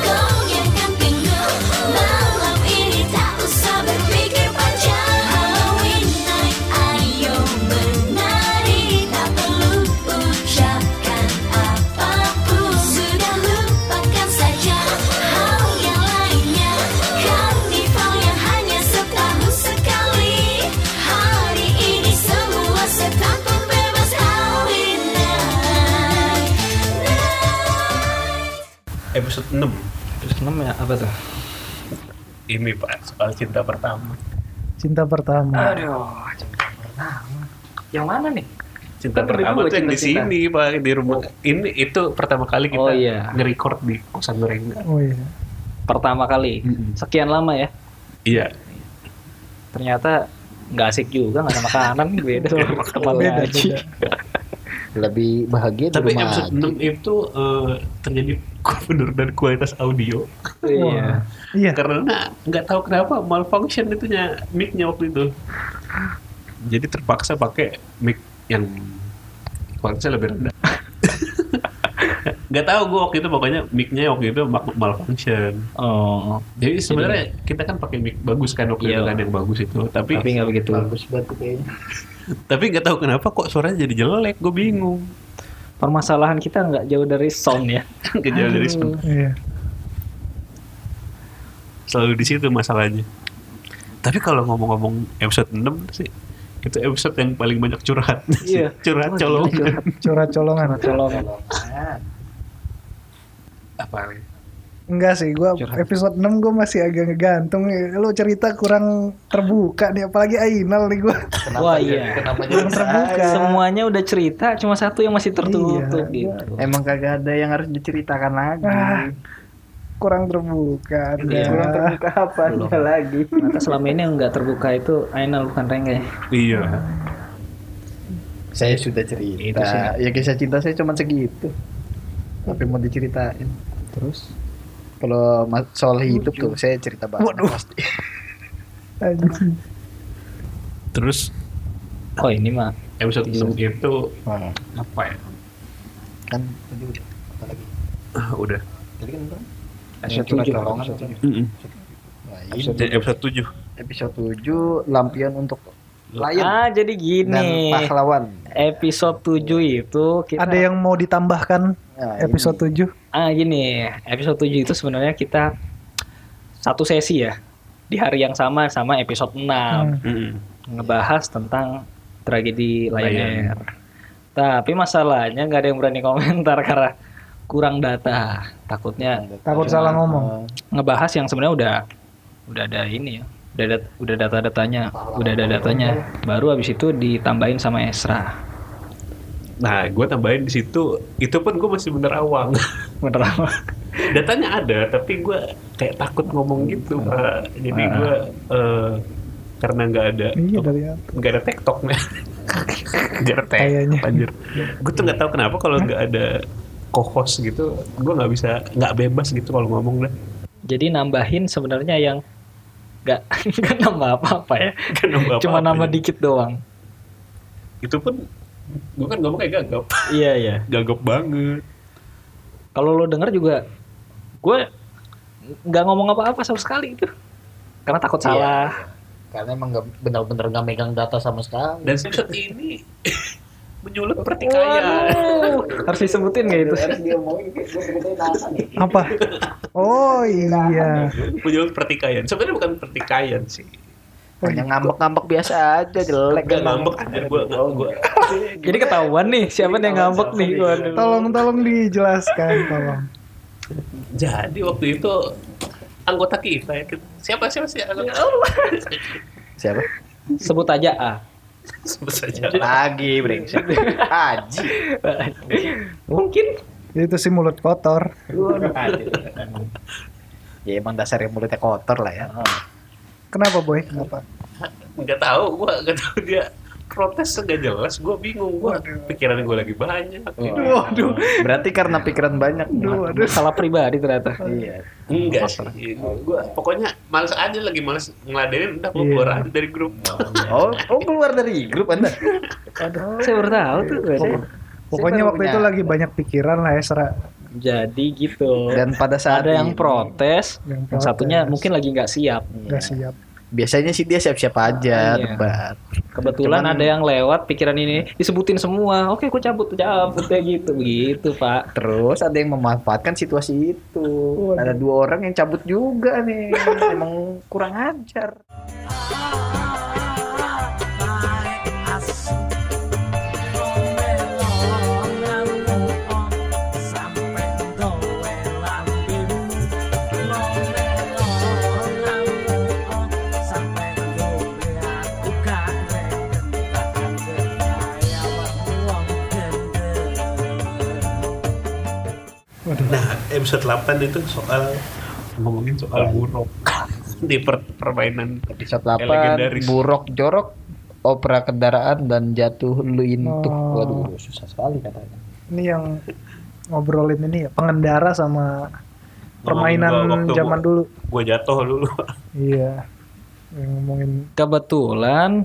[SPEAKER 8] goyangkan pinggul Malam ini tak usah berpikir panjang Halloween night, ayo menari Tak perlu ucapkan apapun Sudah lupakan saja hal yang lainnya Karnival yang hanya setahun sekali Hari ini semua setahun bebas Nah, Halloween night nah.
[SPEAKER 7] episode 6
[SPEAKER 4] Terus enam ya apa tuh?
[SPEAKER 7] ini pak soal cinta pertama
[SPEAKER 6] Cinta pertama.
[SPEAKER 4] Aduh, cinta pertama. Yang mana nih?
[SPEAKER 7] cinta
[SPEAKER 4] Kan
[SPEAKER 7] pertama
[SPEAKER 4] dulu
[SPEAKER 7] tuh yang di
[SPEAKER 4] cinta-cinta.
[SPEAKER 7] sini pak di rumah ini itu pertama kali kita
[SPEAKER 4] Oh, iya.
[SPEAKER 7] nge-record di kosan mereka
[SPEAKER 6] Oh iya.
[SPEAKER 4] Pertama kali. Sekian lama ya.
[SPEAKER 7] iya
[SPEAKER 4] Ternyata nggak asik juga nggak ada makanan beda sama tempat
[SPEAKER 6] Beda,
[SPEAKER 4] ngaji.
[SPEAKER 6] beda.
[SPEAKER 5] lebih bahagia di rumah
[SPEAKER 7] tapi
[SPEAKER 5] gitu.
[SPEAKER 7] episode 6 itu eh, terjadi penurunan kualitas audio
[SPEAKER 4] Iya.
[SPEAKER 6] Wah. Iya.
[SPEAKER 7] karena nggak tahu kenapa malfunction itunya mic-nya waktu itu jadi terpaksa pakai mic yang kualitasnya lebih rendah nggak tahu gue waktu itu pokoknya mic-nya waktu itu mak- malfunction
[SPEAKER 4] Oh,
[SPEAKER 7] jadi sebenarnya kita kan pakai mic bagus kan waktu itu
[SPEAKER 4] Iya.
[SPEAKER 7] kan yang bagus itu tapi
[SPEAKER 4] tapi nggak begitu.
[SPEAKER 5] bagus banget kayaknya
[SPEAKER 7] tapi nggak tahu kenapa kok suaranya jadi jelek gue bingung
[SPEAKER 4] Permasalahan kita nggak jauh dari sound ya.
[SPEAKER 7] kejauhan dari
[SPEAKER 6] Iya.
[SPEAKER 7] selalu di situ masalahnya Tapi kalau ngomong-ngomong episode 6 sih itu episode yang paling banyak curhat.
[SPEAKER 4] Iya.
[SPEAKER 7] curhat colong.
[SPEAKER 6] curhat colongan
[SPEAKER 4] colongan
[SPEAKER 7] Apa nih?
[SPEAKER 6] enggak sih gua episode 6 gua masih agak ngegantung lu cerita kurang terbuka nih apalagi Ainal nih gua
[SPEAKER 5] Kenapa
[SPEAKER 4] Wah,
[SPEAKER 5] jadi-
[SPEAKER 4] iya.
[SPEAKER 5] Kenapa jadi
[SPEAKER 6] kurang terbuka
[SPEAKER 4] semuanya udah cerita cuma satu yang masih tertutup
[SPEAKER 6] Iya.
[SPEAKER 4] gitu
[SPEAKER 5] Emang kagak ada yang harus diceritakan lagi.
[SPEAKER 6] Ah, kurang terbuka
[SPEAKER 4] Iya.
[SPEAKER 5] Kurang
[SPEAKER 6] Anda.
[SPEAKER 5] terbuka apa
[SPEAKER 4] Belum.
[SPEAKER 5] lagi?
[SPEAKER 4] maka selama ini yang nggak terbuka itu Ainal bukan Rengga ya
[SPEAKER 7] Iya.
[SPEAKER 5] Saya sudah cerita.
[SPEAKER 4] Itu sih.
[SPEAKER 5] Ya kisah cinta saya cuma segitu. Tapi mau diceritain.
[SPEAKER 4] terus
[SPEAKER 5] Kalau ma- soal hidup tuh saya cerita banget.
[SPEAKER 6] Waduh.
[SPEAKER 5] pasti.
[SPEAKER 6] Anjing.
[SPEAKER 7] Terus
[SPEAKER 4] oh ini mah
[SPEAKER 7] episode 6 itu
[SPEAKER 5] Nah,
[SPEAKER 7] apa ya?
[SPEAKER 5] kan tadi udah apa lagi?
[SPEAKER 7] Ah, Udah.
[SPEAKER 5] Tadi kan udah.
[SPEAKER 4] Episode
[SPEAKER 5] Yang curhat kan,
[SPEAKER 4] tujuh.
[SPEAKER 5] colongan atau tujuh? Nah, ini
[SPEAKER 7] Episode, episode 7.
[SPEAKER 5] episode 7 lampion untuk lion
[SPEAKER 4] ah jadi
[SPEAKER 5] dan
[SPEAKER 4] gini
[SPEAKER 5] pahlawan.
[SPEAKER 6] E-
[SPEAKER 4] episode 7 itu kita
[SPEAKER 6] ada yang mau ditambahkan
[SPEAKER 5] Nah, ini.
[SPEAKER 6] episode 7
[SPEAKER 4] ah gini episode 7 itu sebenarnya kita satu sesi ya di hari yang sama sama episode 6
[SPEAKER 6] Hmm.
[SPEAKER 4] ngebahas tentang tragedi
[SPEAKER 7] Lion
[SPEAKER 4] Lion Air. Tapi masalahnya nggak ada yang berani komentar karena kurang data. Takutnya
[SPEAKER 5] Nah,
[SPEAKER 6] takut salah ngomong
[SPEAKER 4] ngebahas yang sebenarnya udah udah ada ini ya. Udah ada, udah data-datanya, udah ada datanya. Baru habis itu ditambahin sama Esra.
[SPEAKER 7] Nah, gue tambahin di situ, itu pun gue masih bener awang.
[SPEAKER 4] Bener apa?
[SPEAKER 7] Datanya ada, tapi gue kayak takut ngomong gitu, Pak. Jadi gue eh, karena nggak ada
[SPEAKER 6] iya dari
[SPEAKER 7] nggak ada tektok nih, nggak ada
[SPEAKER 6] Kayaknya.
[SPEAKER 7] tektok. Anjir, gue tuh nggak tahu kenapa kalau nggak ada co-host gitu, gue nggak bisa nggak bebas gitu kalau ngomong dah.
[SPEAKER 4] Jadi nambahin sebenarnya yang nggak nggak nambah apa-apa ya.
[SPEAKER 7] Kan nambah
[SPEAKER 4] Cuma
[SPEAKER 7] apa-apa
[SPEAKER 4] nambah
[SPEAKER 7] ya.
[SPEAKER 4] dikit doang.
[SPEAKER 7] Itu pun gue kan ngomong kayak gagap,
[SPEAKER 4] Iya iya.
[SPEAKER 7] gagap banget.
[SPEAKER 4] kalau lo denger juga gue nggak ngomong apa-apa sama sekali itu karena takut
[SPEAKER 5] Iya.
[SPEAKER 4] salah
[SPEAKER 5] karena emang nggak benar-benar nggak megang data sama sekali.
[SPEAKER 7] Dan episode ini menyulut pertikaian.
[SPEAKER 4] Waduh, harus disebutin gitu. nggak itu
[SPEAKER 6] apa
[SPEAKER 5] Nah,
[SPEAKER 6] oh iya
[SPEAKER 7] menyulut pertikaian. Sebenarnya bukan pertikaian sih.
[SPEAKER 5] Hanya ngambek-ngambek biasa aja jelek.
[SPEAKER 7] Gak ngambek aja gue gue.
[SPEAKER 4] jadi ketahuan nih siapa yang ngambek nih Waduh.
[SPEAKER 6] tolong tolong dijelaskan tolong
[SPEAKER 7] Jadi waktu itu anggota kita ya, siapa siapa sih anggota?
[SPEAKER 4] Ya.
[SPEAKER 5] Siapa?
[SPEAKER 4] sebut aja A
[SPEAKER 7] Sebut saja.
[SPEAKER 5] Lagi brengsek. Aji.
[SPEAKER 4] mungkin
[SPEAKER 6] itu sih mulut kotor
[SPEAKER 5] Ya emang dasar yang mulutnya kotor lah ya.
[SPEAKER 4] Oh,
[SPEAKER 6] kenapa boy kenapa
[SPEAKER 7] Gak tahu gue gak tahu dia protes gak jelas. Gue bingung gue pikiran gue lagi banyak.
[SPEAKER 5] Oh, iya. Waduh. Berarti karena pikiran banyak.
[SPEAKER 4] iya. Waduh, salah pribadi ternyata
[SPEAKER 5] Iya.
[SPEAKER 7] Enggak sih. Gue pokoknya males aja lagi males ngeladenin udah gue keluar aja dari grup.
[SPEAKER 5] Oh, oh keluar dari grup Anda.
[SPEAKER 4] saya baru tahu tuh
[SPEAKER 5] Oh.
[SPEAKER 6] Pokok- pokoknya waktu itu lagi banyak pikiran lah ya, Esra
[SPEAKER 4] jadi gitu
[SPEAKER 5] Dan pada saat
[SPEAKER 4] ada yang
[SPEAKER 5] ini-
[SPEAKER 4] protes yang,
[SPEAKER 6] Yang
[SPEAKER 4] satunya
[SPEAKER 6] protes.
[SPEAKER 4] mungkin lagi nggak siap
[SPEAKER 5] Iya.
[SPEAKER 6] nggak siap
[SPEAKER 5] Biasanya sih dia siap-siap aja,
[SPEAKER 4] Iya.
[SPEAKER 5] debat.
[SPEAKER 4] Kebetulan
[SPEAKER 5] Cuman-
[SPEAKER 4] ada yang lewat pikiran ini disebutin semua. Oke, gue cabut, cabut kayak gitu, begitu Pak.
[SPEAKER 5] Terus ada yang memanfaatkan situasi itu. Ada dua orang yang cabut juga nih. Emang kurang ajar.
[SPEAKER 7] Nah episode 8 itu soal ngomongin soal buruk di per- permainan
[SPEAKER 5] Episode
[SPEAKER 7] Legendaris.
[SPEAKER 5] 8 buruk jorok opera kendaraan dan jatuh lintuh.
[SPEAKER 6] Oh.
[SPEAKER 5] Waduh, susah sekali katanya.
[SPEAKER 6] ini yang ngobrolin ini ya pengendara sama permainan
[SPEAKER 7] waktu
[SPEAKER 6] zaman
[SPEAKER 7] gua-
[SPEAKER 6] dulu
[SPEAKER 7] gue jatuh dulu
[SPEAKER 6] iya yang ngomongin
[SPEAKER 4] Kebetulan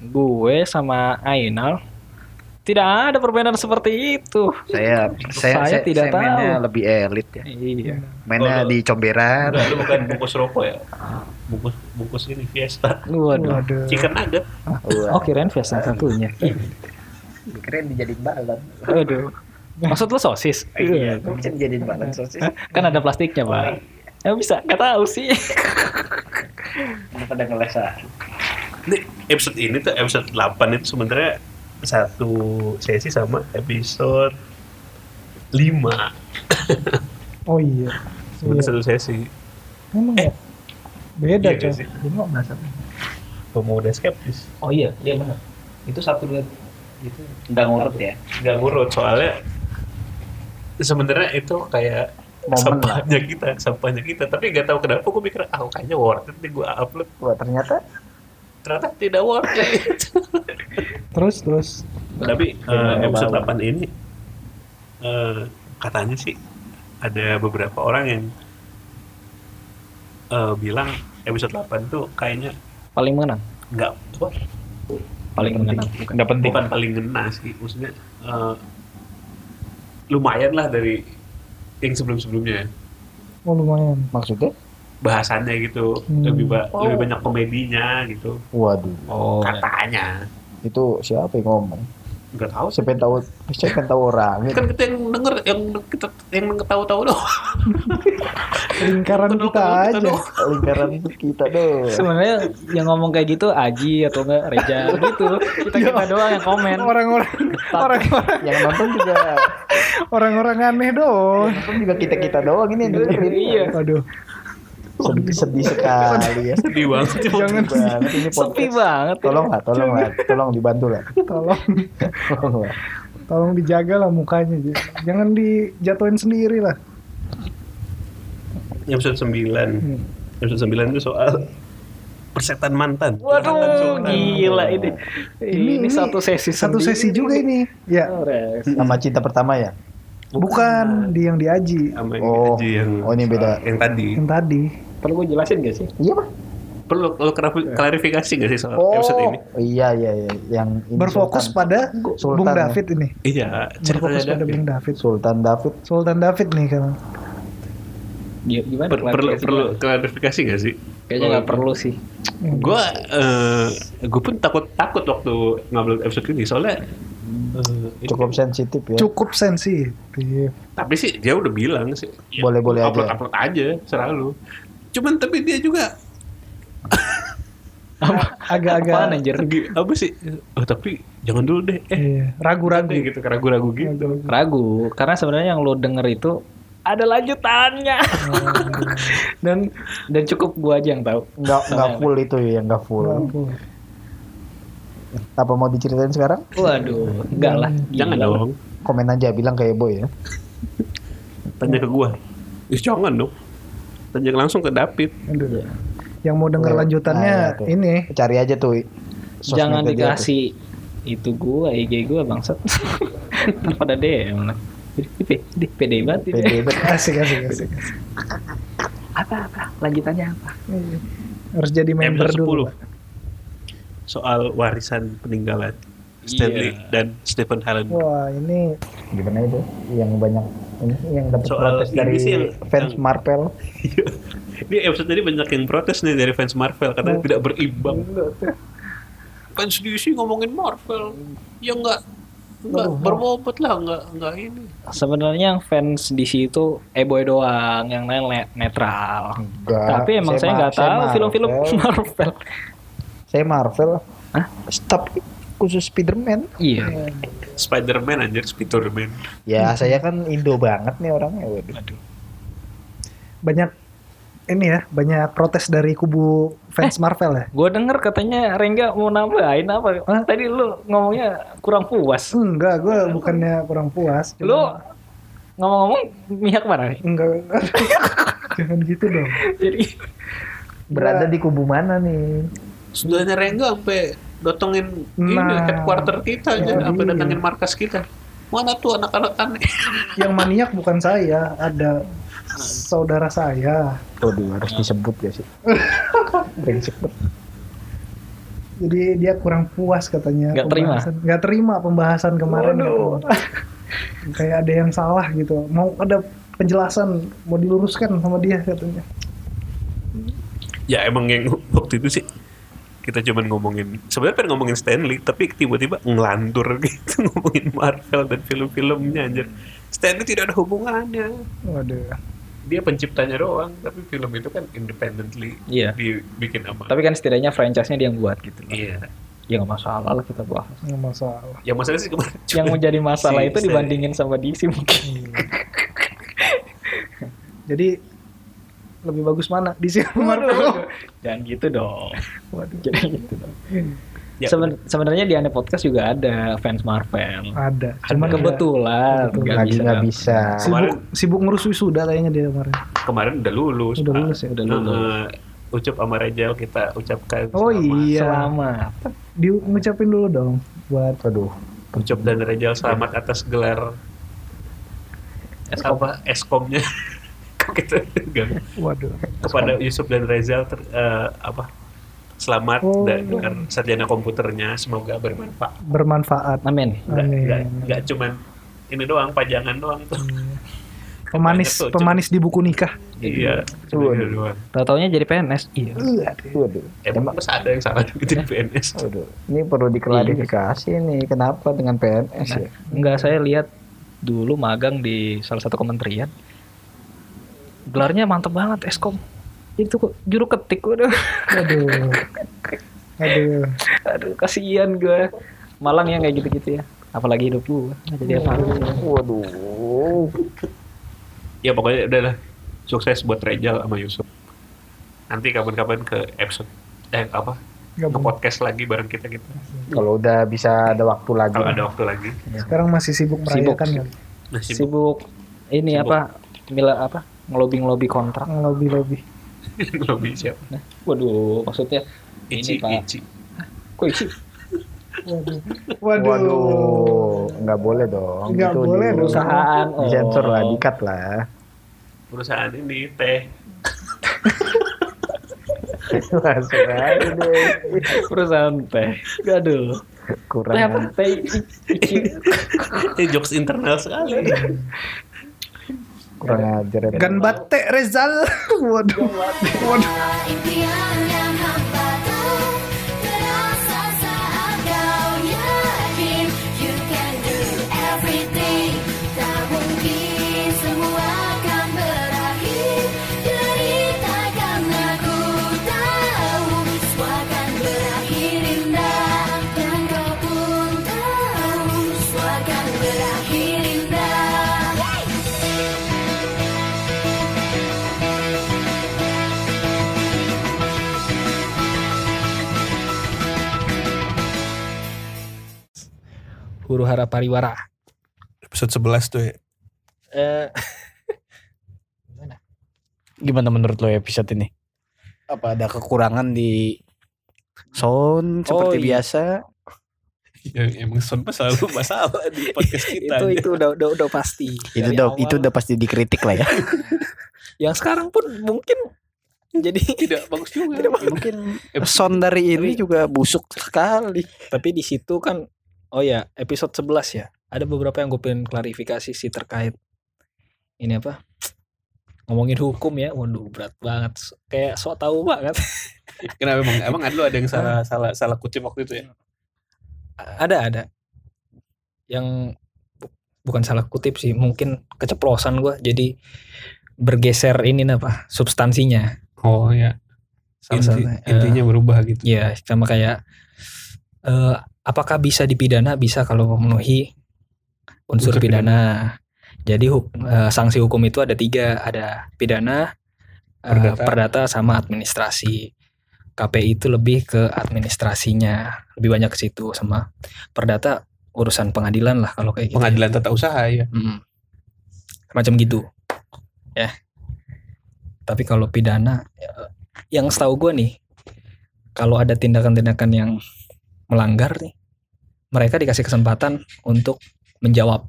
[SPEAKER 4] gue sama Ainal tidak ada permainan seperti itu.
[SPEAKER 5] Saya saya,
[SPEAKER 4] Saya
[SPEAKER 5] saya,
[SPEAKER 4] tidak
[SPEAKER 5] saya mainnya
[SPEAKER 4] tahu.
[SPEAKER 5] lebih elit ya.
[SPEAKER 4] Iya.
[SPEAKER 5] Mainnya
[SPEAKER 7] Oh,
[SPEAKER 5] di comberan.
[SPEAKER 7] Enggak, lu bukan bungkus rokok ya? Bungkus bungkus ini Fiesta.
[SPEAKER 4] Waduh.
[SPEAKER 6] waduh
[SPEAKER 7] Chicken nugget.
[SPEAKER 4] Oh, kirain Fiesta satunya.
[SPEAKER 5] Keren dijadiin balon.
[SPEAKER 4] Waduh. Maksud lo sosis?
[SPEAKER 5] Iya, kok bisa dijadiin balon sosis?
[SPEAKER 9] Oh, iya.
[SPEAKER 4] Kan ada plastiknya, Pak. Ya bisa, nggak tahu sih.
[SPEAKER 9] Anak pada ngeles ah.
[SPEAKER 7] Ini episode ini tuh episode 8 itu sebenarnya satu sesi sama episode 5.
[SPEAKER 6] Oh iya.
[SPEAKER 7] Sebenarnya
[SPEAKER 6] Iya.
[SPEAKER 7] satu sesi.
[SPEAKER 6] Emang ya? Beda
[SPEAKER 7] iya,
[SPEAKER 6] coy.
[SPEAKER 7] sih.
[SPEAKER 6] Jadi nggak merasa.
[SPEAKER 7] Pemuda skeptis.
[SPEAKER 9] Oh iya, dia benar. Itu satu dua itu nggak ngurut ya.
[SPEAKER 7] Gak ngurut soalnya sebenarnya itu kayak
[SPEAKER 9] Momen
[SPEAKER 7] sampahnya kita, sampahnya kita. Tapi gak tahu kenapa gue gitu, mikir, ah kayaknya worth it nih gue upload.
[SPEAKER 9] Wah, ternyata
[SPEAKER 7] Ternyata tidak worth it.
[SPEAKER 6] Terus terus.
[SPEAKER 7] Tapi eh, episode 8 ini eh, katanya sih ada beberapa orang yang eh, bilang episode 8 tuh kayaknya
[SPEAKER 4] Paling mengenang.
[SPEAKER 7] nggak apa,
[SPEAKER 4] Paling mengenang. Bukan.
[SPEAKER 5] Nggak penting.
[SPEAKER 7] bukan paling ngena sih maksudnya eh, lumayan lah dari yang sebelum-sebelumnya
[SPEAKER 6] Oh lumayan.
[SPEAKER 5] Maksudnya?
[SPEAKER 7] bahasannya gitu
[SPEAKER 6] Hmm.
[SPEAKER 7] lebih ba- lebih banyak komedinya gitu
[SPEAKER 5] Waduh,
[SPEAKER 4] Oh,
[SPEAKER 7] katanya
[SPEAKER 5] itu siapa yang ngomong?
[SPEAKER 7] nggak tahu sih
[SPEAKER 5] Siapa yang tahu? Siapa yang tahu orang?
[SPEAKER 7] kan kita yang denger yang kita yang tahu-tahu doh
[SPEAKER 6] Lingkaran kita aja.
[SPEAKER 5] Lingkaran kita tuh.
[SPEAKER 4] Sebenarnya yang ngomong kayak gitu Aji atau enggak Reja gitu. Kita kita doang yang komen.
[SPEAKER 6] Orang-orang orang-orang
[SPEAKER 5] Yang nonton juga,
[SPEAKER 6] orang-orang aneh doang.
[SPEAKER 5] nonton juga kita kita doang ini yang
[SPEAKER 4] Iya,
[SPEAKER 5] dengerin.
[SPEAKER 6] Waduh.
[SPEAKER 5] Sedih, sedih sekali ya. Sedih
[SPEAKER 7] sedih banget sih.
[SPEAKER 6] Jangan
[SPEAKER 5] banget ini
[SPEAKER 4] Sepi
[SPEAKER 5] podcast.
[SPEAKER 4] banget. ya.
[SPEAKER 5] Tolong lah, tolong lah, tolong dibantu lah.
[SPEAKER 6] tolong
[SPEAKER 5] Tolong lah.
[SPEAKER 6] tolong dijaga lah mukanya. Ji. Jangan dijatuhin sendiri lah.
[SPEAKER 7] episode 9 episode 9 itu soal persetan mantan Persetan
[SPEAKER 4] Waduh,
[SPEAKER 7] sultan.
[SPEAKER 4] gila ini. Ini,
[SPEAKER 6] Ini-
[SPEAKER 4] satu sesi
[SPEAKER 6] Satu sesi juga ini.
[SPEAKER 4] Oh,
[SPEAKER 6] Ya,
[SPEAKER 5] Sama cinta pertama ya?
[SPEAKER 6] bukan di yang di Aji
[SPEAKER 7] sama yang
[SPEAKER 5] Oh.
[SPEAKER 7] Aji yang
[SPEAKER 5] Oh, ini beda.
[SPEAKER 7] yang tadi
[SPEAKER 6] yang tadi.
[SPEAKER 4] Perlu gue jelasin gak sih?
[SPEAKER 5] Iya mah.
[SPEAKER 7] perlu lo klarifi- klarifikasi nggak sih soal
[SPEAKER 5] Oh,
[SPEAKER 7] Eh, episode ini
[SPEAKER 5] iya iya iya. Yang ini
[SPEAKER 6] Berfokus
[SPEAKER 5] Sultan.
[SPEAKER 6] pada
[SPEAKER 5] Sultan
[SPEAKER 6] Bung
[SPEAKER 5] ya.
[SPEAKER 6] David ini.
[SPEAKER 7] iya ceritanya
[SPEAKER 6] Berfokus pada
[SPEAKER 7] David.
[SPEAKER 6] Bung David.
[SPEAKER 5] Sultan David.
[SPEAKER 6] Sultan David nih
[SPEAKER 5] Ya.
[SPEAKER 6] kan.
[SPEAKER 4] Gi- Gimana?
[SPEAKER 7] Per- perlu
[SPEAKER 4] klarifikasi
[SPEAKER 7] perlu Oh, iya.
[SPEAKER 4] gua?
[SPEAKER 7] klarifikasi nggak sih
[SPEAKER 4] Kayaknya nggak perlu sih.
[SPEAKER 7] gue eh gue pun takut takut waktu ngambil episode ini soalnya eh, ini-
[SPEAKER 5] Cukup sensitif ya.
[SPEAKER 6] Cukup Iya. sensitif.
[SPEAKER 7] tapi sih dia udah bilang sih
[SPEAKER 5] Boleh-boleh aja.
[SPEAKER 7] upload upload aja selalu cuman tapi dia juga
[SPEAKER 4] Apaan
[SPEAKER 6] Agak-agak
[SPEAKER 4] anjir?
[SPEAKER 7] gi- apa sih oh, tapi jangan dulu deh eh
[SPEAKER 6] iya, ragu-ragu.
[SPEAKER 7] Ragu gitu, ragu-ragu gitu.
[SPEAKER 4] Ragu, karena sebenarnya yang lo denger itu ada lanjutannya. dan dan cukup gua aja yang tahu.
[SPEAKER 5] Nggak nggak
[SPEAKER 7] Nah,
[SPEAKER 5] full itu ya, nggak full.
[SPEAKER 6] Oh, Ampun.
[SPEAKER 5] Apa mau diceritain sekarang?
[SPEAKER 4] Waduh, enggak lah.
[SPEAKER 7] Jangan
[SPEAKER 4] Gila.
[SPEAKER 7] dong,
[SPEAKER 5] Komen aja bilang kayak boy ya.
[SPEAKER 7] tanya ke gua. Ih, jangan dong. Tanya langsung ke David.
[SPEAKER 6] Aduh. Yang mau denger
[SPEAKER 5] Nah,
[SPEAKER 6] lanjutannya
[SPEAKER 5] nah, ya, tuh.
[SPEAKER 6] ini
[SPEAKER 5] Cari aja tuh. sosmed
[SPEAKER 4] Jangan
[SPEAKER 5] dia tuh.
[SPEAKER 4] dikasih itu gua, IG gua bangsat. Ntar Pada DM lah. Pede, pede, pede banget ini.
[SPEAKER 5] Pede banget.
[SPEAKER 6] asik asik asik.
[SPEAKER 4] Apa apa? Lanjutannya apa?
[SPEAKER 6] Iya. Harus jadi member
[SPEAKER 7] Episode
[SPEAKER 6] dulu.
[SPEAKER 7] 10. Soal warisan peninggalan Stanley
[SPEAKER 4] Iya.
[SPEAKER 7] dan Stephen Helen.
[SPEAKER 6] Wah, ini
[SPEAKER 5] Gimana itu? Yang banyak ini yang dapat
[SPEAKER 7] Soal
[SPEAKER 5] protes
[SPEAKER 7] ini
[SPEAKER 5] dari
[SPEAKER 7] sih yang-
[SPEAKER 5] fans
[SPEAKER 7] yang-
[SPEAKER 5] Marvel.
[SPEAKER 7] Ini episode tadi banyak yang protes nih dari fans Marvel karena tidak berimbang. Fans DC ngomongin Marvel. Ya enggak enggak berbobot lah, enggak enggak ini.
[SPEAKER 4] Sebenarnya yang fans DC itu eh boy doang, yang lain le- netral.
[SPEAKER 5] Enggak.
[SPEAKER 4] Tapi emang saya
[SPEAKER 5] ma-
[SPEAKER 4] nggak tahu
[SPEAKER 5] Ah, Marvel.
[SPEAKER 4] film-film Marvel.
[SPEAKER 5] Saya Marvel.
[SPEAKER 4] Hah?
[SPEAKER 5] Stop khusus Spiderman.
[SPEAKER 4] Iya.
[SPEAKER 7] Spider-Man anjir, Spider-Man.
[SPEAKER 5] Ya, saya kan Indo banget nih orangnya. Waduh.
[SPEAKER 6] banyak ini ya, banyak protes dari kubu fans Marvel ya.
[SPEAKER 4] Gue denger katanya Rengga mau nambahin apa? Tadi lu ngomongnya kurang puas.
[SPEAKER 6] Enggak, gue bukannya kurang puas. cuma-
[SPEAKER 4] Lu ngomong-ngomong mihak mana nih?
[SPEAKER 6] enggak. Jangan gitu dong.
[SPEAKER 4] Jadi
[SPEAKER 5] Berada di kubu mana nih?
[SPEAKER 7] Sudahnya Rengga sampai datengin ini
[SPEAKER 6] Nah.
[SPEAKER 7] headquarter kita
[SPEAKER 6] Ya,
[SPEAKER 7] aja, sampai
[SPEAKER 6] iya.
[SPEAKER 7] datengin markas kita. Mana tuh anak-anak aneh?
[SPEAKER 6] Yang maniak bukan saya, ada saudara saya.
[SPEAKER 5] Waduh, harus disebut ya sih. Brengsek banget.
[SPEAKER 6] Jadi dia kurang puas katanya.
[SPEAKER 4] Nggak terima.
[SPEAKER 6] pembahasan- Nggak terima pembahasan kemarin. katanya. Kayak ada yang salah gitu. Mau ada penjelasan, mau diluruskan sama dia katanya.
[SPEAKER 7] ya emang yang waktu itu sih kita cuman ngomongin sebenarnya pengen ngomongin Stanley tapi tiba-tiba ngelantur gitu ngomongin Marvel dan film-filmnya anjir Stanley tidak ada hubungannya
[SPEAKER 6] Waduh.
[SPEAKER 7] dia penciptanya doang tapi film itu kan independently
[SPEAKER 4] Iya.
[SPEAKER 7] dibikin sama
[SPEAKER 4] Tapi kan setidaknya franchise-nya dia yang buat gitu. loh.
[SPEAKER 7] iya
[SPEAKER 4] Ya nggak masalah lah kita bahas.
[SPEAKER 6] nggak masalah
[SPEAKER 7] yang masalah sih kemarin
[SPEAKER 4] Yang menjadi masalah
[SPEAKER 7] Si-
[SPEAKER 4] itu
[SPEAKER 7] si-
[SPEAKER 4] dibandingin sama DC mungkin.
[SPEAKER 6] jadi lebih bagus mana di sini Marvel
[SPEAKER 4] Jangan gitu dong.
[SPEAKER 6] Waduh.
[SPEAKER 4] Jangan gitu dong.
[SPEAKER 7] Ya,
[SPEAKER 4] Seben- sebenarnya di Ane Podcast juga ada fans Marvel.
[SPEAKER 6] Ah, ada
[SPEAKER 4] Cuman
[SPEAKER 6] cuman kebetul
[SPEAKER 4] kebetulan nggak
[SPEAKER 10] lagi
[SPEAKER 4] bisa.
[SPEAKER 10] nggak bisa.
[SPEAKER 6] sibuk sibuk ngurus wisuda kayaknya dia kemarin
[SPEAKER 7] kemarin udah lulus
[SPEAKER 6] Udah
[SPEAKER 7] Pak.
[SPEAKER 6] lulus ya?
[SPEAKER 4] Udah lulus.
[SPEAKER 7] Heeh. ucup sama Rejal kita ucapkan
[SPEAKER 6] oh
[SPEAKER 7] selamat.
[SPEAKER 6] iya
[SPEAKER 4] Selamat.
[SPEAKER 6] di ngucapin dulu dong buat
[SPEAKER 10] Aduh,
[SPEAKER 7] ucup dan Rejal selamat atas gelar es apa eskomnya Kok kita gak-
[SPEAKER 6] waduh
[SPEAKER 7] kepada Yusuf dan Rezal ter- eh, apa selamat
[SPEAKER 6] Oh.
[SPEAKER 7] dan dengan sarjana komputernya semoga bermanfaat
[SPEAKER 6] bermanfaat
[SPEAKER 4] Amin.
[SPEAKER 7] nggak nggak
[SPEAKER 6] Amin.
[SPEAKER 7] nggak cuman ini doang pajangan doang tuh
[SPEAKER 3] Hmm.
[SPEAKER 6] pemanis
[SPEAKER 7] Banyak tuh,
[SPEAKER 6] pemanis di buku nikah
[SPEAKER 7] iya
[SPEAKER 10] Waduh.
[SPEAKER 7] cuman itu doang
[SPEAKER 4] Tahu-taunya jadi PNS. Iya.
[SPEAKER 10] waduh,
[SPEAKER 7] emang masa ada yang salah
[SPEAKER 3] Iya.
[SPEAKER 7] dengan PNS
[SPEAKER 10] waduh. Ini perlu diklarifikasi nih, kenapa dengan PNS ya?
[SPEAKER 4] Enggak, saya lihat dulu magang di salah satu kementerian. Gelarnya mantep banget, Eskom. Itu kok juru ketik, udah.
[SPEAKER 6] aduh aduh
[SPEAKER 4] Aduh, kasihan gue. Malang ya kayak gitu-gitu ya. Apalagi hidup gue. nggak Jadi apa?
[SPEAKER 10] Waduh,
[SPEAKER 7] ya pokoknya udahlah sukses buat Rezal sama Yusuf nanti kapan-kapan ke episode eh apa ke
[SPEAKER 6] Gabung.
[SPEAKER 7] podcast lagi bareng kita kita
[SPEAKER 10] kalau udah bisa ada waktu lagi.
[SPEAKER 7] kalau ada waktu lagi
[SPEAKER 6] sekarang masih sibuk
[SPEAKER 4] Sibuk.
[SPEAKER 6] merayakan kali
[SPEAKER 7] nah, sibuk.
[SPEAKER 4] Sibuk ini
[SPEAKER 7] Sibuk.
[SPEAKER 4] apa? Mila apa? Ngelobi-ngelobi kontrak.
[SPEAKER 6] lobby lobby
[SPEAKER 7] Lobby siapa
[SPEAKER 4] Waduh, maksudnya
[SPEAKER 7] Ici
[SPEAKER 4] ini Pak.
[SPEAKER 7] Ici
[SPEAKER 4] Kok Ici?
[SPEAKER 6] waduh
[SPEAKER 10] Waduh,
[SPEAKER 6] waduh
[SPEAKER 10] nggak boleh dong.
[SPEAKER 6] Nggak
[SPEAKER 10] Itu
[SPEAKER 6] boleh
[SPEAKER 10] di-
[SPEAKER 6] dong.
[SPEAKER 4] Perusahaan. oh.
[SPEAKER 10] Disensor lah, dikat lah.
[SPEAKER 7] perusahaan ini teh
[SPEAKER 10] Langsung aja deh.
[SPEAKER 4] Perusahaan teh. Aduh.
[SPEAKER 10] Kurang.
[SPEAKER 4] Teh apa? Teh I- Ici.
[SPEAKER 7] ini jokes internal sekali
[SPEAKER 10] kurang ajar ya.
[SPEAKER 6] gan batek Rezal waduh waduh
[SPEAKER 8] Impian yang hampa tahu terasa saat kau yakin you can do everything. Tak mungkin semua akan berakhir derita karena ku tahu semua akan berakhir indah dan kau pun tahu semua akan berakhir indah.
[SPEAKER 4] Huru hara pariwara.
[SPEAKER 11] Episode 11 tuh ya.
[SPEAKER 12] Eh, gimana menurut lo episode ini? Apa ada kekurangan di sound seperti
[SPEAKER 4] Oh, iya.
[SPEAKER 12] biasa?
[SPEAKER 3] Ya, emang sound selalu masalah di podcast kita.
[SPEAKER 4] itu itu udah udah udah pasti
[SPEAKER 12] Itu
[SPEAKER 4] Dari
[SPEAKER 12] udah
[SPEAKER 4] awal.
[SPEAKER 12] itu udah pasti dikritik lah ya.
[SPEAKER 4] yang sekarang pun mungkin jadi
[SPEAKER 3] Tidak bagus juga.
[SPEAKER 12] Mungkin sound dari ini juga busuk sekali.
[SPEAKER 4] tapi di situ kan oh ya episode 11 ya ada beberapa yang gue pengen klarifikasi sih terkait ini apa ngomongin hukum ya waduh berat banget So- kayak sok tahu banget
[SPEAKER 3] Kenapa emang emang ada lu ada yang salah salah salah kutip waktu itu ya?
[SPEAKER 4] ada ada yang bu- bukan salah kutip sih mungkin keceplosan gue jadi bergeser ini apa substansinya
[SPEAKER 3] Oh ya.
[SPEAKER 4] Salah satunya, eh,
[SPEAKER 3] intinya berubah gitu.
[SPEAKER 4] Ya, sama kayak eh, apakah bisa dipidana? Bisa kalau memenuhi unsur
[SPEAKER 3] Unsur
[SPEAKER 4] pidana. Jadi huk- eh, sanksi hukum itu ada tiga, ada pidana, eh,
[SPEAKER 3] Perdata.
[SPEAKER 4] perdata, sama administrasi. KPI itu lebih ke administrasinya, lebih banyak ke situ sama perdata urusan pengadilan lah kalau kayak gitu.
[SPEAKER 3] Pengadilan tata usaha ya.
[SPEAKER 4] Mm. Macam gitu. Ya. Tapi kalau pidana ya, yang setahu gue nih kalau ada tindakan-tindakan yang melanggar nih mereka dikasih kesempatan untuk menjawab.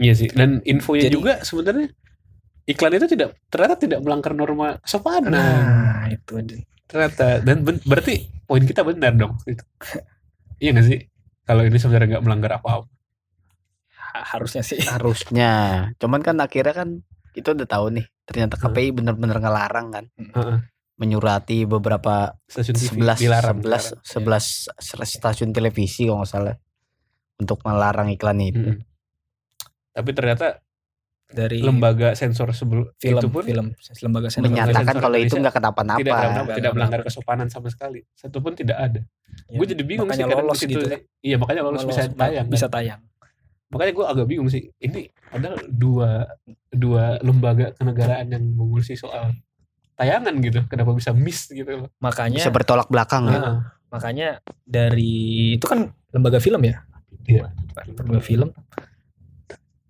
[SPEAKER 3] Iya sih. Dan infonya
[SPEAKER 4] Jadi-
[SPEAKER 3] juga sebenarnya iklan itu tidak ternyata tidak melanggar norma sopan.
[SPEAKER 4] Nah, itu dia.
[SPEAKER 3] ternyata dan ben- berarti poin kita benar dong gitu. iya gak sih kalau ini sebenarnya nggak melanggar apa-apa
[SPEAKER 4] Ha- harusnya sih.
[SPEAKER 12] Harusnya. Cuman kan akhirnya kan kita udah tahu nih ternyata KPI bener-bener ngelarang kan.
[SPEAKER 3] Heeh.
[SPEAKER 12] Menyurati beberapa
[SPEAKER 3] stasiun TV
[SPEAKER 12] 11
[SPEAKER 3] dilarang
[SPEAKER 12] 11 11 stasiun televisi
[SPEAKER 11] Iya.
[SPEAKER 12] kalau nggak salah untuk melarang iklan
[SPEAKER 3] dilarang.
[SPEAKER 12] itu.
[SPEAKER 3] Mm-mm. tapi ternyata
[SPEAKER 4] dari
[SPEAKER 11] lembaga sensor sebelum
[SPEAKER 4] film
[SPEAKER 11] itu pun
[SPEAKER 4] film lembaga sensor
[SPEAKER 11] Menyatakan
[SPEAKER 5] menyatakan
[SPEAKER 11] kalau
[SPEAKER 5] kalau
[SPEAKER 11] itu
[SPEAKER 5] itu
[SPEAKER 11] nggak
[SPEAKER 5] nggak kenapa-napa.
[SPEAKER 11] tidak melanggar,
[SPEAKER 4] Nggak
[SPEAKER 11] tidak
[SPEAKER 4] ada.
[SPEAKER 11] melanggar kesopanan sama sekali satu pun tidak ada
[SPEAKER 4] Ya,
[SPEAKER 11] gue jadi bingung sih
[SPEAKER 4] makanya
[SPEAKER 11] kadang
[SPEAKER 4] lolos
[SPEAKER 11] di situ
[SPEAKER 4] gitu
[SPEAKER 11] sih. iya makanya lolos, bisa
[SPEAKER 4] Lolos,
[SPEAKER 11] tayang kan.
[SPEAKER 4] bisa tayang
[SPEAKER 11] makanya gue agak bingung sih ini padahal dua dua lembaga kenegaraan yang mengurusi soal tayangan gitu kenapa bisa miss gitu loh
[SPEAKER 4] makanya
[SPEAKER 5] Bisa bertolak belakang ya.
[SPEAKER 11] Nah,
[SPEAKER 4] makanya dari itu kan lembaga film ya
[SPEAKER 11] Iya.
[SPEAKER 4] lembaga film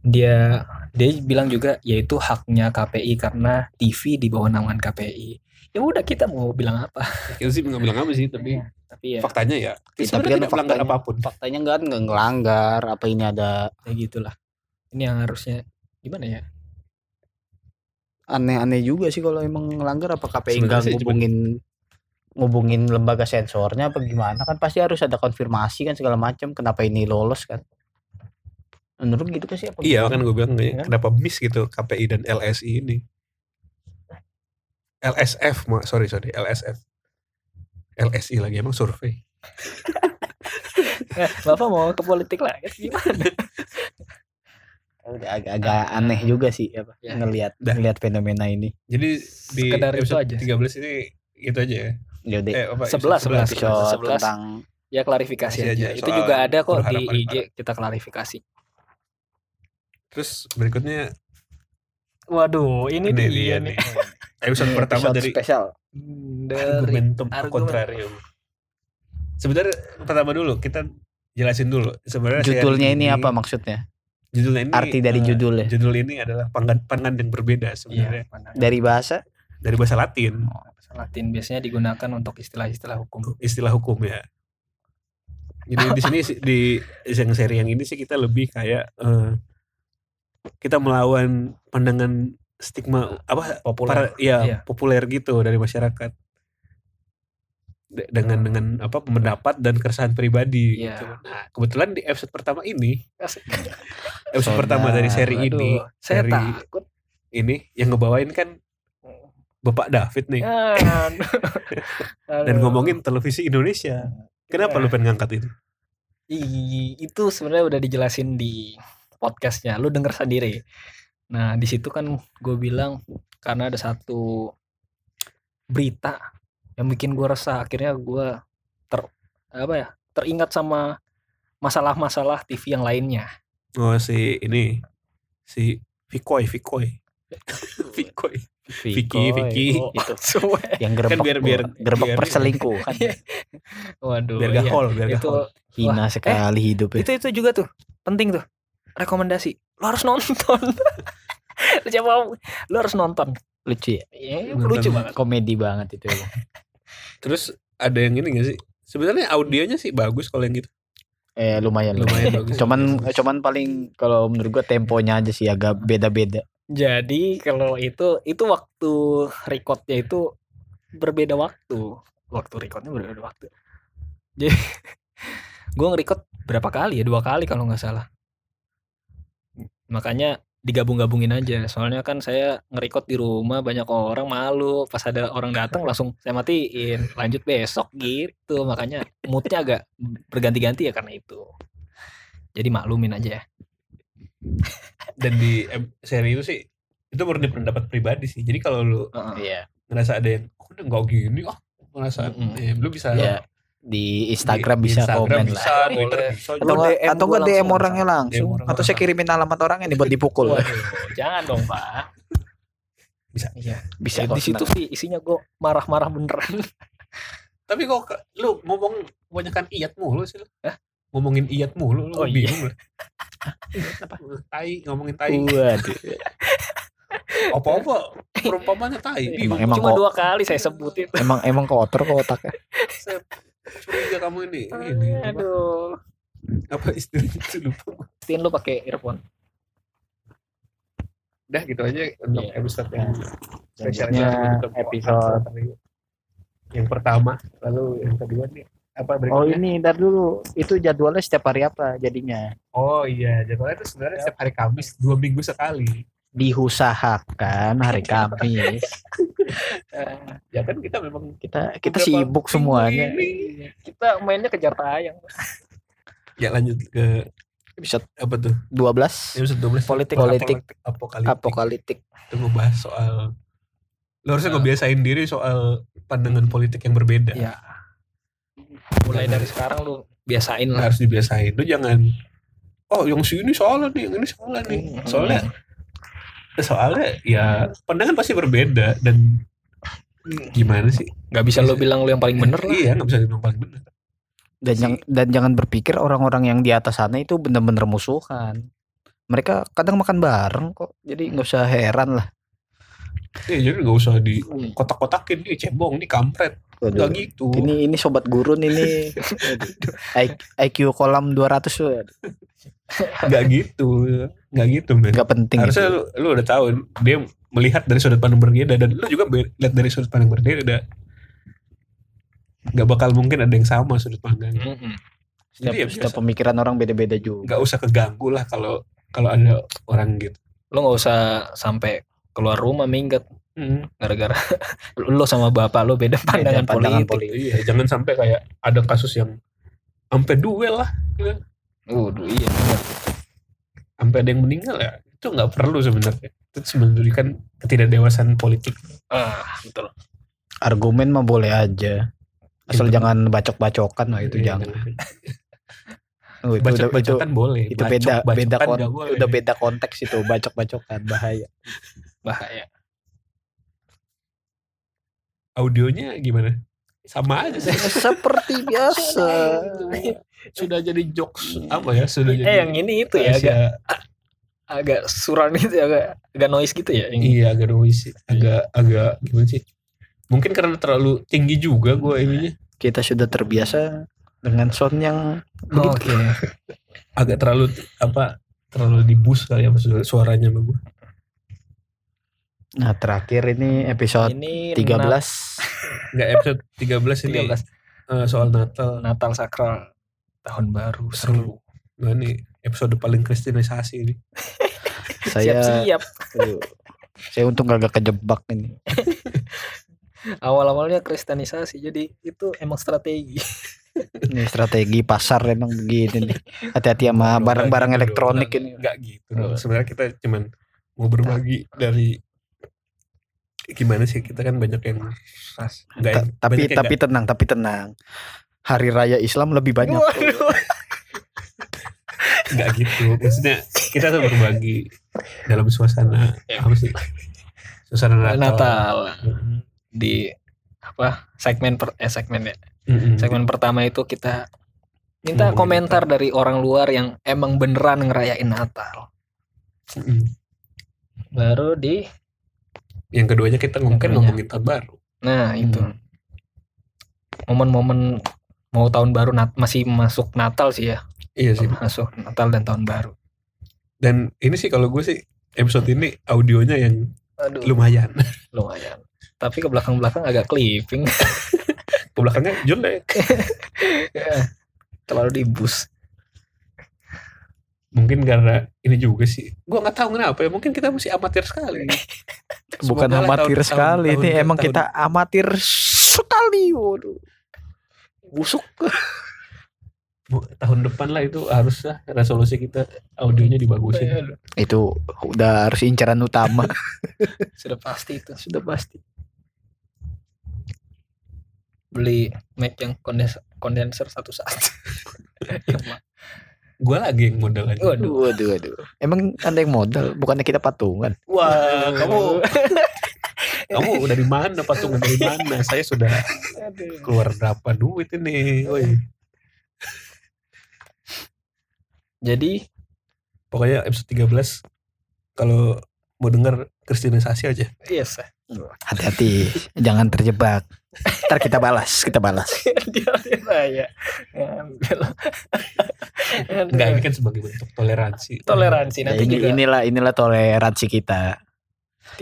[SPEAKER 4] dia dia bilang juga yaitu haknya KPI karena TV di bawah naungan KPI ya udah kita mau bilang apa
[SPEAKER 11] itu Iya sih nggak bilang apa sih tapi
[SPEAKER 4] tapi ya
[SPEAKER 11] faktanya ya
[SPEAKER 5] Tapi
[SPEAKER 11] sebenarnya
[SPEAKER 5] kan
[SPEAKER 11] tidak melanggar
[SPEAKER 5] faktanya-
[SPEAKER 11] apapun
[SPEAKER 5] Faktanya nggak nggak ngelanggar. Apa ini ada
[SPEAKER 4] ya gitulah ini yang harusnya gimana ya
[SPEAKER 5] aneh-aneh juga sih kalau emang ngelanggar apa KPI
[SPEAKER 11] Sebenarnya
[SPEAKER 5] nggak
[SPEAKER 11] sih cuman-
[SPEAKER 5] ngubungin ngubungin lembaga sensornya apa gimana kan pasti harus ada konfirmasi kan segala macam kenapa ini lolos kan menurut gitu kan sih apa
[SPEAKER 11] Iya kan gue bilang
[SPEAKER 5] Iya.
[SPEAKER 11] kenapa miss gitu KPI dan LSI ini. LSF, ma- sorry sorry LSF. LSI lagi emang survei.
[SPEAKER 4] Eh, bapak mau ke politik lah gimana
[SPEAKER 5] Udah agak, agak aneh juga sih apa
[SPEAKER 4] Ya.
[SPEAKER 5] ngelihat
[SPEAKER 11] Dah.
[SPEAKER 5] ngelihat fenomena ini
[SPEAKER 11] Jadi di
[SPEAKER 4] Sekedar itu
[SPEAKER 11] episode
[SPEAKER 4] aja.
[SPEAKER 11] 13 ini gitu aja ya.
[SPEAKER 5] ya udah
[SPEAKER 11] Eh, apa,
[SPEAKER 4] Sebelas, sebelas.
[SPEAKER 11] episode
[SPEAKER 5] episode
[SPEAKER 4] 11.
[SPEAKER 5] tentang
[SPEAKER 4] ya klarifikasi
[SPEAKER 11] Kasih aja
[SPEAKER 4] aja itu
[SPEAKER 11] soal
[SPEAKER 4] juga ada kok di
[SPEAKER 11] berharapan
[SPEAKER 4] IG kita klarifikasi
[SPEAKER 11] Terus berikutnya
[SPEAKER 4] waduh ini,
[SPEAKER 11] Ini dia
[SPEAKER 4] dia,
[SPEAKER 11] nih.
[SPEAKER 4] nih
[SPEAKER 11] episode pertama
[SPEAKER 5] Iya, episode
[SPEAKER 11] dari
[SPEAKER 5] spesial
[SPEAKER 4] dari
[SPEAKER 11] argumentum
[SPEAKER 4] argumen.
[SPEAKER 11] contrarium. Sebenarnya pertama dulu kita jelasin dulu sebenarnya seri
[SPEAKER 5] judulnya ini apa maksudnya
[SPEAKER 11] Judulnya ini
[SPEAKER 5] arti dari
[SPEAKER 11] eh,
[SPEAKER 5] judulnya
[SPEAKER 11] Judul ini adalah pangan pangan yang berbeda sebenarnya
[SPEAKER 5] dari bahasa
[SPEAKER 11] dari bahasa Latin.
[SPEAKER 4] Bahasa Latin biasanya digunakan untuk istilah-istilah hukum.
[SPEAKER 11] istilah hukum ya. Jadi di sini sih- di yang seri yang ini sih kita lebih kayak eh, kita melawan pandangan stigma apa
[SPEAKER 4] Populer.
[SPEAKER 11] para- ya
[SPEAKER 4] Iya.
[SPEAKER 11] populer gitu dari masyarakat De- dengan dengan apa pendapat dan keresahan pribadi
[SPEAKER 4] Iya.
[SPEAKER 11] gitu. Nah, kebetulan di episode pertama ini episode Eh, pertama dari seri
[SPEAKER 4] Aduh,
[SPEAKER 11] ini
[SPEAKER 4] saya
[SPEAKER 11] seri
[SPEAKER 4] takut.
[SPEAKER 11] ini yang ngebawain kan Bapak David nih
[SPEAKER 4] Kan.
[SPEAKER 11] dan
[SPEAKER 4] Aduh.
[SPEAKER 11] ngomongin televisi Indonesia. Kenapa
[SPEAKER 4] Iya.
[SPEAKER 11] lu pengen ngangkat ini?
[SPEAKER 4] Ih, itu sebenarnya udah dijelasin di podcastnya. Lu denger sendiri. Nah, di situ kan gue bilang karena ada satu berita yang bikin gue resah. Akhirnya gue ter apa ya teringat sama masalah-masalah TV yang lainnya.
[SPEAKER 11] Oh si ini si Vikoi Vikoi Vikoi Vicky, Vicky.
[SPEAKER 4] Oh, itu.
[SPEAKER 5] yang gerbek
[SPEAKER 11] Kan biar- biar-
[SPEAKER 5] gerbek
[SPEAKER 11] biar- eh.
[SPEAKER 5] perselingkuhan
[SPEAKER 4] Waduh.
[SPEAKER 11] biar
[SPEAKER 4] iya.
[SPEAKER 11] gahol biar
[SPEAKER 4] itu
[SPEAKER 11] gahol.
[SPEAKER 5] hina sekali hidupnya
[SPEAKER 4] itu itu juga tuh penting tuh rekomendasi lo harus nonton Lu jangan mau lo harus nonton
[SPEAKER 5] lucu ya
[SPEAKER 4] Iya,
[SPEAKER 11] Nonton.
[SPEAKER 4] lucu banget
[SPEAKER 5] komedi banget itu emang.
[SPEAKER 11] Terus ada yang ini gak sih? Sebenarnya audionya sih bagus kalau yang gitu.
[SPEAKER 5] eh
[SPEAKER 4] Iya,
[SPEAKER 5] lumayan lumayan
[SPEAKER 11] Lumayan bagus.
[SPEAKER 5] cuman cuman paling kalau menurut gua temponya aja sih agak beda-beda
[SPEAKER 4] jadi kalau itu itu waktu recordnya itu berbeda waktu waktu recordnya berbeda waktu jadi gue nge-record berapa kali ya dua kali kalau nggak salah makanya digabung-gabungin aja soalnya kan saya nge-record di rumah banyak orang malu pas ada orang datang langsung saya matiin lanjut besok gitu makanya moodnya agak berganti-ganti ya karena itu jadi maklumin aja ya
[SPEAKER 11] Dan di em- seri itu sih itu murni pendapat pribadi sih. Jadi kalau lu
[SPEAKER 5] iya
[SPEAKER 11] ngerasa ada yang oh, udah nggak gini ah ngerasa
[SPEAKER 4] Mm-mm.
[SPEAKER 11] eh, lu bisa
[SPEAKER 5] Iya. di Instagram bisa komen lah
[SPEAKER 11] bisa, Twitter bisa.
[SPEAKER 5] atau
[SPEAKER 4] Lu
[SPEAKER 5] nggak
[SPEAKER 4] DM
[SPEAKER 5] atau
[SPEAKER 4] gua
[SPEAKER 5] nggak DM
[SPEAKER 4] langsung,
[SPEAKER 5] orangnya langsung
[SPEAKER 11] DM orang
[SPEAKER 5] ya, atau saya kirimin alamat orangnya nih buat dipukul
[SPEAKER 4] Waduh, jangan dong pak
[SPEAKER 11] Bisa.
[SPEAKER 4] iya
[SPEAKER 5] bisa
[SPEAKER 4] di situ sih isinya gue marah-marah beneran
[SPEAKER 11] Tapi kok ke- lu ngomong kebanyakan iat mulu sih lu. Ngomongin iat mulu lu
[SPEAKER 4] Oh, iya.
[SPEAKER 11] bingung lu. Apa? Tai ngomongin tai.
[SPEAKER 5] Waduh.
[SPEAKER 11] apa-apa perumpamannya tai bingung
[SPEAKER 5] Emang
[SPEAKER 4] cuma
[SPEAKER 5] kok-
[SPEAKER 4] dua kali saya sebutin
[SPEAKER 5] emang emang kotor kok otaknya
[SPEAKER 11] Sep. curiga kamu ini ini apa,
[SPEAKER 4] aduh
[SPEAKER 11] apa istilahnya itu lupa gua.
[SPEAKER 4] tin lu pakai earphone
[SPEAKER 11] udah gitu aja untuk
[SPEAKER 4] Iya.
[SPEAKER 11] episode yang spesial
[SPEAKER 5] Selanjutnya
[SPEAKER 11] kita buat
[SPEAKER 5] Nah, episode-
[SPEAKER 11] yang pertama lalu yang kedua nih apa
[SPEAKER 5] oh
[SPEAKER 11] berikutnya
[SPEAKER 5] ini ntar dulu itu jadwalnya setiap hari apa jadinya
[SPEAKER 11] oh, iya jadwalnya itu sebenarnya setiap hari Kamis dua minggu sekali
[SPEAKER 5] diusahakan
[SPEAKER 11] Iya.
[SPEAKER 5] hari Kamis
[SPEAKER 11] ya kan kita memang
[SPEAKER 5] kita kita
[SPEAKER 11] beberapa
[SPEAKER 5] sibuk
[SPEAKER 11] minggu
[SPEAKER 5] semuanya
[SPEAKER 11] ini.
[SPEAKER 4] kita mainnya kejar tayang
[SPEAKER 11] ya lanjut ke
[SPEAKER 5] episode
[SPEAKER 11] apa tuh
[SPEAKER 5] 12
[SPEAKER 11] episode ya? 12
[SPEAKER 4] Politik.
[SPEAKER 5] Politik.
[SPEAKER 11] apokaliptik
[SPEAKER 5] apokaliptik.
[SPEAKER 11] itu ngebahas soal lo harusnya ngebiasain diri soal pandangan politik yang berbeda
[SPEAKER 4] Iya. mulai dari sekarang lu biasain lah
[SPEAKER 11] harus dibiasain lu jangan oh yang si ini salah nih yang ini salah nih soalnya soalnya ya pandangan pasti berbeda dan gimana sih
[SPEAKER 4] nggak bisa lu bilang lu yang paling bener lah
[SPEAKER 11] iya nggak bisa dibilang paling bener
[SPEAKER 5] dan yang, dan jangan berpikir orang-orang yang di atas sana itu bener-bener musuhan mereka kadang makan bareng kok jadi nggak usah heran lah
[SPEAKER 11] Iya, jadi nggak usah di
[SPEAKER 4] Hmm.
[SPEAKER 11] kotak-kotakin nih cebong nih kampret nggak
[SPEAKER 4] Iya.
[SPEAKER 5] Waduh.
[SPEAKER 11] gitu
[SPEAKER 5] ini ini sobat gurun ini Aduh. IQ kolam 200 tuh,
[SPEAKER 11] nggak gitu nggak gitu men
[SPEAKER 5] nggak penting itu.
[SPEAKER 11] harusnya lu, lu udah tahu dia melihat dari sudut pandang berbeda dan lu juga be- lihat dari sudut pandang berbeda nggak bakal mungkin ada yang sama sudut pandangnya
[SPEAKER 4] Mm-mm.
[SPEAKER 5] setiap,
[SPEAKER 11] jadi ya
[SPEAKER 5] setiap
[SPEAKER 11] biasa.
[SPEAKER 5] pemikiran orang beda-beda juga
[SPEAKER 11] nggak usah keganggu lah kalau kalau ada orang gitu
[SPEAKER 4] lu nggak usah sampai keluar rumah minggat gara-gara lu sama bapak lu beda pandangan,
[SPEAKER 5] pandangan
[SPEAKER 4] politik.
[SPEAKER 11] iya jangan sampai kayak ada kasus yang sampai duel lah gitu.
[SPEAKER 4] Waduh, iya.
[SPEAKER 11] sampai ada yang meninggal ya itu nggak perlu sebenarnya itu sebenarnya kan ketidakdewasaan politik
[SPEAKER 4] Ah, betul.
[SPEAKER 5] argumen mah boleh aja asal
[SPEAKER 11] Gitu.
[SPEAKER 5] jangan bacok-bacokan lah itu
[SPEAKER 11] Iya.
[SPEAKER 5] jangan Oh, itu udah- itu-
[SPEAKER 11] bacot-bacotan boleh
[SPEAKER 5] itu beda beda
[SPEAKER 11] Bacok-bacotan
[SPEAKER 5] kon-
[SPEAKER 11] nggak boleh.
[SPEAKER 5] udah beda konteks itu bacok-bacokan bahaya
[SPEAKER 4] Bahaya.
[SPEAKER 11] audionya gimana sama aja sih
[SPEAKER 5] seperti biasa
[SPEAKER 11] sudah jadi jokes apa ya sudah jadi
[SPEAKER 4] Eh, yang ini itu ya agak agak suran itu agak agak noise gitu ya. Yang
[SPEAKER 11] Iya agak noisy, agak agak gimana sih? Mungkin karena terlalu tinggi juga gue ininya,
[SPEAKER 5] kita sudah terbiasa dengan sound yang
[SPEAKER 4] Oh, Oke.
[SPEAKER 11] agak terlalu apa terlalu dibus kali ya maksud suaranya sama gue.
[SPEAKER 5] nah terakhir ini episode 13
[SPEAKER 4] Ini Nat-
[SPEAKER 11] Enggak episode 13 ini
[SPEAKER 4] 13
[SPEAKER 11] eh, soal
[SPEAKER 4] Hmm.
[SPEAKER 11] Natal.
[SPEAKER 4] Natal sakral tahun baru seru.
[SPEAKER 11] Nah ini episode paling kristenisasi ini.
[SPEAKER 5] saya
[SPEAKER 4] Siap-siap.
[SPEAKER 5] Aduh. saya untung gak kejebak ini
[SPEAKER 4] Awal-awalnya kristenisasi. Jadi itu emang strategi.
[SPEAKER 5] ini strategi pasar emang begini nih hati-hati sama
[SPEAKER 4] Ah,
[SPEAKER 11] Doang,
[SPEAKER 5] barang-barang
[SPEAKER 11] gitu
[SPEAKER 5] elektronik
[SPEAKER 11] doang.
[SPEAKER 5] ini
[SPEAKER 11] Enggak gitu. doang. Sebenarnya kita cuman mau berbagi dari gimana sih kita kan banyak yang ras. Enggak
[SPEAKER 5] Ta-
[SPEAKER 11] yang-
[SPEAKER 5] tapi
[SPEAKER 11] banyak yang
[SPEAKER 5] tapi tenang tapi tenang hari raya Islam lebih banyak
[SPEAKER 11] nggak gitu maksudnya kita tuh berbagi dalam suasana apa sih suasana Natal,
[SPEAKER 4] Ya. Natal di apa segmen per eh segmen ya.
[SPEAKER 11] Mm-mm.
[SPEAKER 4] Segmen pertama itu kita minta
[SPEAKER 11] Ngomongin
[SPEAKER 4] komentar dari orang luar yang emang beneran ngerayain Natal.
[SPEAKER 11] Mm-mm.
[SPEAKER 4] Baru di
[SPEAKER 11] yang keduanya kita mungkin
[SPEAKER 4] keduanya.
[SPEAKER 11] ngomongin tahun baru
[SPEAKER 4] Nah itu momen-momen mau tahun baru nat- masih masuk Natal sih ya
[SPEAKER 11] iya sih
[SPEAKER 4] masuk Natal dan tahun baru.
[SPEAKER 11] dan ini sih kalau gue sih episode ini audionya yang
[SPEAKER 4] Aduh
[SPEAKER 11] lumayan
[SPEAKER 4] lumayan. Tapi ke belakang-belakang agak clipping
[SPEAKER 11] ke belakangnya jelek
[SPEAKER 4] Ya, terlalu dibus.
[SPEAKER 11] mungkin karena ini juga sih gue nggak tahu kenapa ya mungkin kita masih amatir sekali
[SPEAKER 5] bukan
[SPEAKER 11] Semoga lah
[SPEAKER 5] amatir
[SPEAKER 11] tahun-
[SPEAKER 5] sekali
[SPEAKER 11] tahun-
[SPEAKER 5] ini
[SPEAKER 11] tahun-
[SPEAKER 5] emang
[SPEAKER 11] tahun-
[SPEAKER 5] kita amatir sekali waduh
[SPEAKER 11] busuk Bu- tahun depan lah itu haruslah resolusi kita audionya dibagusin
[SPEAKER 5] itu udah harus incaran utama
[SPEAKER 4] Sudah pasti itu
[SPEAKER 5] sudah pasti
[SPEAKER 4] beli mic yang kondenser, kondenser satu-satu. Yang ma-
[SPEAKER 11] gue lagi yang modal aja
[SPEAKER 4] Waduh.
[SPEAKER 5] waduh waduh waduh emang anda yang modal bukannya kita patungan
[SPEAKER 11] Wah, kamu kamu dari mana patungan dari mana? Saya sudah keluar berapa duit ini? Woi.
[SPEAKER 4] Jadi
[SPEAKER 11] Pokoknya episode 13 kalau mau dengar kristenisasi aja.
[SPEAKER 4] yes.
[SPEAKER 5] hati-hati jangan terjebak ntar kita balas kita balas
[SPEAKER 4] Dia saya ngambil.
[SPEAKER 11] Enggak, ini kan sebagai bentuk toleransi.
[SPEAKER 4] toleransi
[SPEAKER 5] Ya,
[SPEAKER 4] nanti
[SPEAKER 5] ini
[SPEAKER 4] juga
[SPEAKER 5] inilah inilah toleransi kita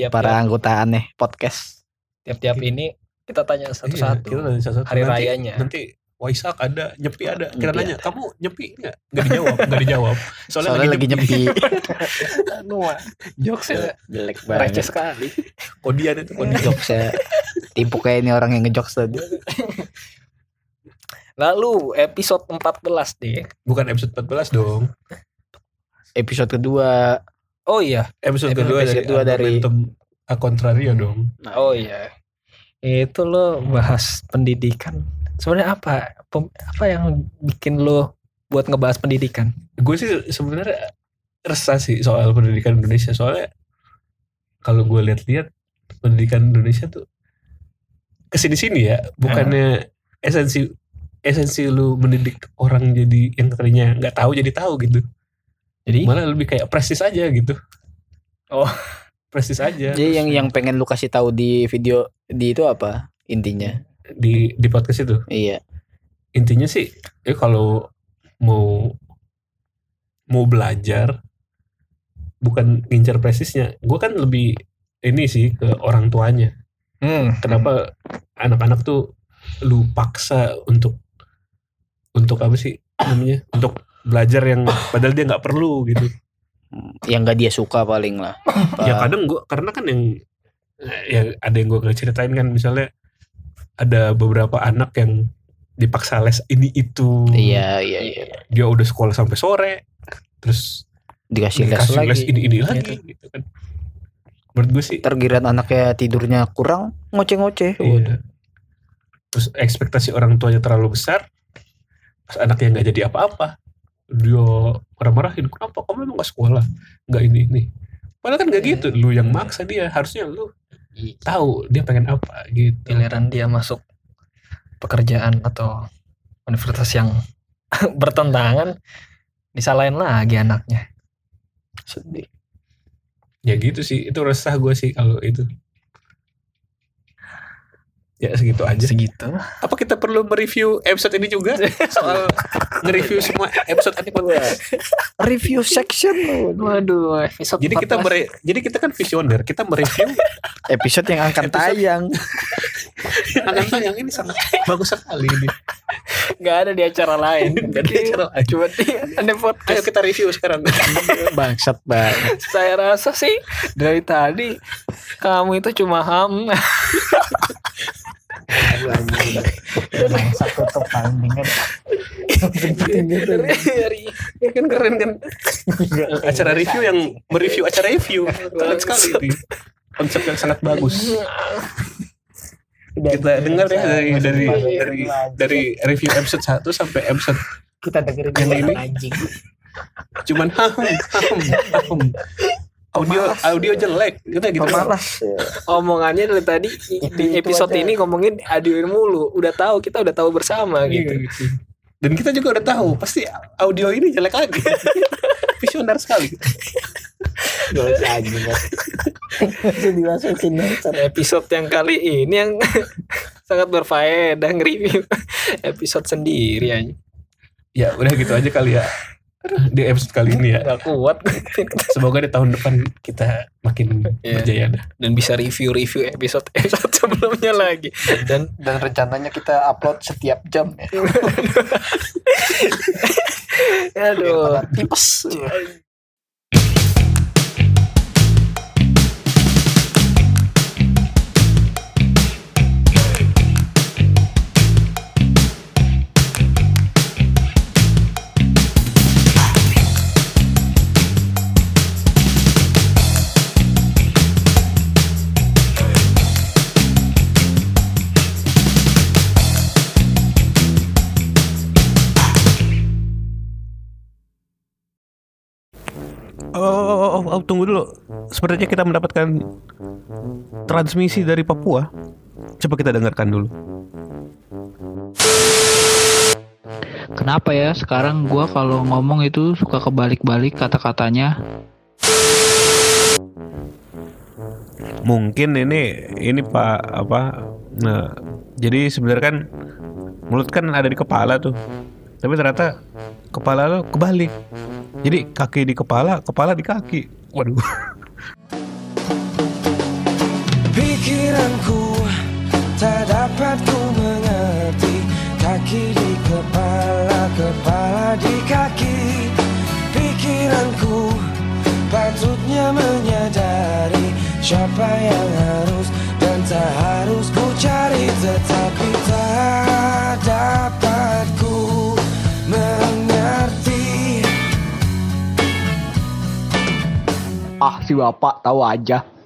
[SPEAKER 4] tiap
[SPEAKER 5] para anggota aneh podcast
[SPEAKER 4] tiap-tiap ini kita tanya
[SPEAKER 11] Iya,
[SPEAKER 4] satu-satu.
[SPEAKER 11] kita nanya satu-satu.
[SPEAKER 4] Hari
[SPEAKER 11] Nanti-
[SPEAKER 4] rayanya.
[SPEAKER 11] Nanti Waisak ada, nyepi ada. Kita
[SPEAKER 5] Nyepi
[SPEAKER 11] nanya, kamu nyepi enggak? Enggak dijawab, enggak dijawab. Soalnya,
[SPEAKER 5] soalnya lagi nyepi
[SPEAKER 4] Anu, ya.
[SPEAKER 11] Jokesnya
[SPEAKER 5] jelek
[SPEAKER 4] Receh sekali.
[SPEAKER 11] kodian itu kodian.
[SPEAKER 5] jokesnya ya. tipu kayak ini orang yang ngejokes tadi
[SPEAKER 4] Lalu episode 14 deh.
[SPEAKER 11] Bukan episode 14 dong.
[SPEAKER 5] episode kedua
[SPEAKER 4] Oh iya,
[SPEAKER 11] Episode kedua
[SPEAKER 5] Episode
[SPEAKER 11] dari,
[SPEAKER 5] kedua dari-
[SPEAKER 11] Argumentum A Contrario dong.
[SPEAKER 4] oh iya. Itu lo bahas pendidikan. Sebenarnya apa? Pem- apa yang bikin lo buat ngebahas pendidikan?
[SPEAKER 11] Gue sih sebenarnya resah sih soal pendidikan Indonesia soalnya kalau gue lihat-lihat pendidikan Indonesia tuh kesini-sini ya bukannya
[SPEAKER 5] Ah.
[SPEAKER 11] esensi esensi lu mendidik orang jadi yang tadinya nggak tahu jadi tahu gitu
[SPEAKER 4] Jadi
[SPEAKER 11] malah lebih kayak prestis aja gitu
[SPEAKER 4] Oh.
[SPEAKER 11] prestis aja
[SPEAKER 5] jadi yang yang pengen lu kasih tahu di video di itu apa intinya
[SPEAKER 11] di di podcast itu
[SPEAKER 5] iya
[SPEAKER 11] intinya sih ya kalau mau mau belajar bukan ngincar prestisnya gue kan lebih ini sih ke orang tuanya kenapa anak-anak tuh lu paksa untuk untuk apa sih namanya untuk belajar yang padahal dia nggak perlu gitu
[SPEAKER 5] yang gak dia suka paling lah
[SPEAKER 11] ya
[SPEAKER 5] Ah.
[SPEAKER 11] kadang gue karena kan yang ya ada yang gue nggak ceritain kan misalnya ada beberapa anak yang dipaksa les ini itu
[SPEAKER 5] iya iya iya
[SPEAKER 11] dia udah sekolah sampai sore terus
[SPEAKER 5] dikasih les
[SPEAKER 11] dikasih
[SPEAKER 5] lagi
[SPEAKER 11] les ini
[SPEAKER 4] Iya.
[SPEAKER 11] ini lagi gitu kan menurut gue sih
[SPEAKER 5] tergiran anaknya tidurnya kurang ngoceh-ngoceh
[SPEAKER 11] iya. terus ekspektasi orang tuanya terlalu besar pas anaknya nggak jadi apa-apa dia marah-marahin kenapa kamu emang nggak sekolah nggak ini ini padahal kan nggak
[SPEAKER 4] Iya.
[SPEAKER 11] gitu lu yang maksa dia harusnya lu tahu dia pengen apa gitu
[SPEAKER 4] Giliran dia masuk pekerjaan atau universitas yang bertentangan, disalahin
[SPEAKER 6] Nah,
[SPEAKER 4] lagi anaknya.
[SPEAKER 5] sedih
[SPEAKER 11] ya gitu sih itu resah gue sih kalau itu ya segitu aja
[SPEAKER 4] Segitu.
[SPEAKER 11] apa kita perlu mereview episode ini juga soal nge-review semua episode anime
[SPEAKER 5] review section
[SPEAKER 4] Waduh, episode
[SPEAKER 11] jadi kita mere- jadi kita kan visioner kita mereview
[SPEAKER 5] episode yang akan
[SPEAKER 11] Episode-
[SPEAKER 5] tayang
[SPEAKER 11] anime yang ini sangat bagus sekali ini
[SPEAKER 4] nggak ada di acara lain.
[SPEAKER 11] jadi cara aja.
[SPEAKER 4] Cuma di ada
[SPEAKER 11] ayo
[SPEAKER 4] podcast.
[SPEAKER 11] kita review sekarang
[SPEAKER 5] bangsat banget
[SPEAKER 4] Saya rasa sih dari tadi kamu itu cuma ham.
[SPEAKER 6] bangsat tutup kambingnya
[SPEAKER 4] dari
[SPEAKER 11] ya kan keren kan acara review yang mereview acara review keren sekali ini konsep yang sangat bagus kita dengar ya dari dari dari, dari Iya. review episode 1 sampai episode
[SPEAKER 6] kita dengerin
[SPEAKER 11] Yang ini?
[SPEAKER 6] anjing
[SPEAKER 11] cuman ham ham ham audio audio jelek kita gitu
[SPEAKER 4] omongannya dari tadi di
[SPEAKER 6] Itu-itu
[SPEAKER 4] episode
[SPEAKER 6] aja.
[SPEAKER 4] ini ngomongin adiwin mulu. Udah tahu kita udah tahu bersama
[SPEAKER 11] Iya,
[SPEAKER 4] gitu.
[SPEAKER 11] gitu. Dan kita juga udah tahu pasti audio ini jelek lagi. Visioner sekali.
[SPEAKER 4] Episode yang kali ini yang sangat berfaedah nge-review episode sendiri aja.
[SPEAKER 11] Ya udah gitu aja kali ya di episode kali ini ya.
[SPEAKER 4] Gak kuat
[SPEAKER 11] Semoga di tahun depan kita makin
[SPEAKER 4] Iya.
[SPEAKER 11] berjaya dah.
[SPEAKER 4] dan bisa review-review episode episode sebelumnya lagi. Dan
[SPEAKER 6] dan rencananya kita upload setiap jam ya Iya,
[SPEAKER 4] aduh.
[SPEAKER 6] Karena tipes
[SPEAKER 1] Oh, oh, oh, oh, oh, tunggu dulu. Sepertinya kita mendapatkan transmisi dari Papua. Coba kita dengarkan dulu.
[SPEAKER 13] Kenapa ya sekarang gua kalau ngomong itu suka kebalik-balik kata-katanya
[SPEAKER 1] Mungkin ini ini Pak apa? Nah, jadi sebenarnya kan mulut kan ada di kepala tuh. Tapi ternyata kepala lo kebalik. Jadi kaki di kepala, kepala di kaki. Waduh.
[SPEAKER 14] Pikiranku tak dapat ku mengerti Kaki di kepala, kepala di kaki Pikiranku patutnya menyadari Siapa yang harus dan tak harus ku cari Tetapi tak dapat ku mengerti
[SPEAKER 12] si bapak tahu aja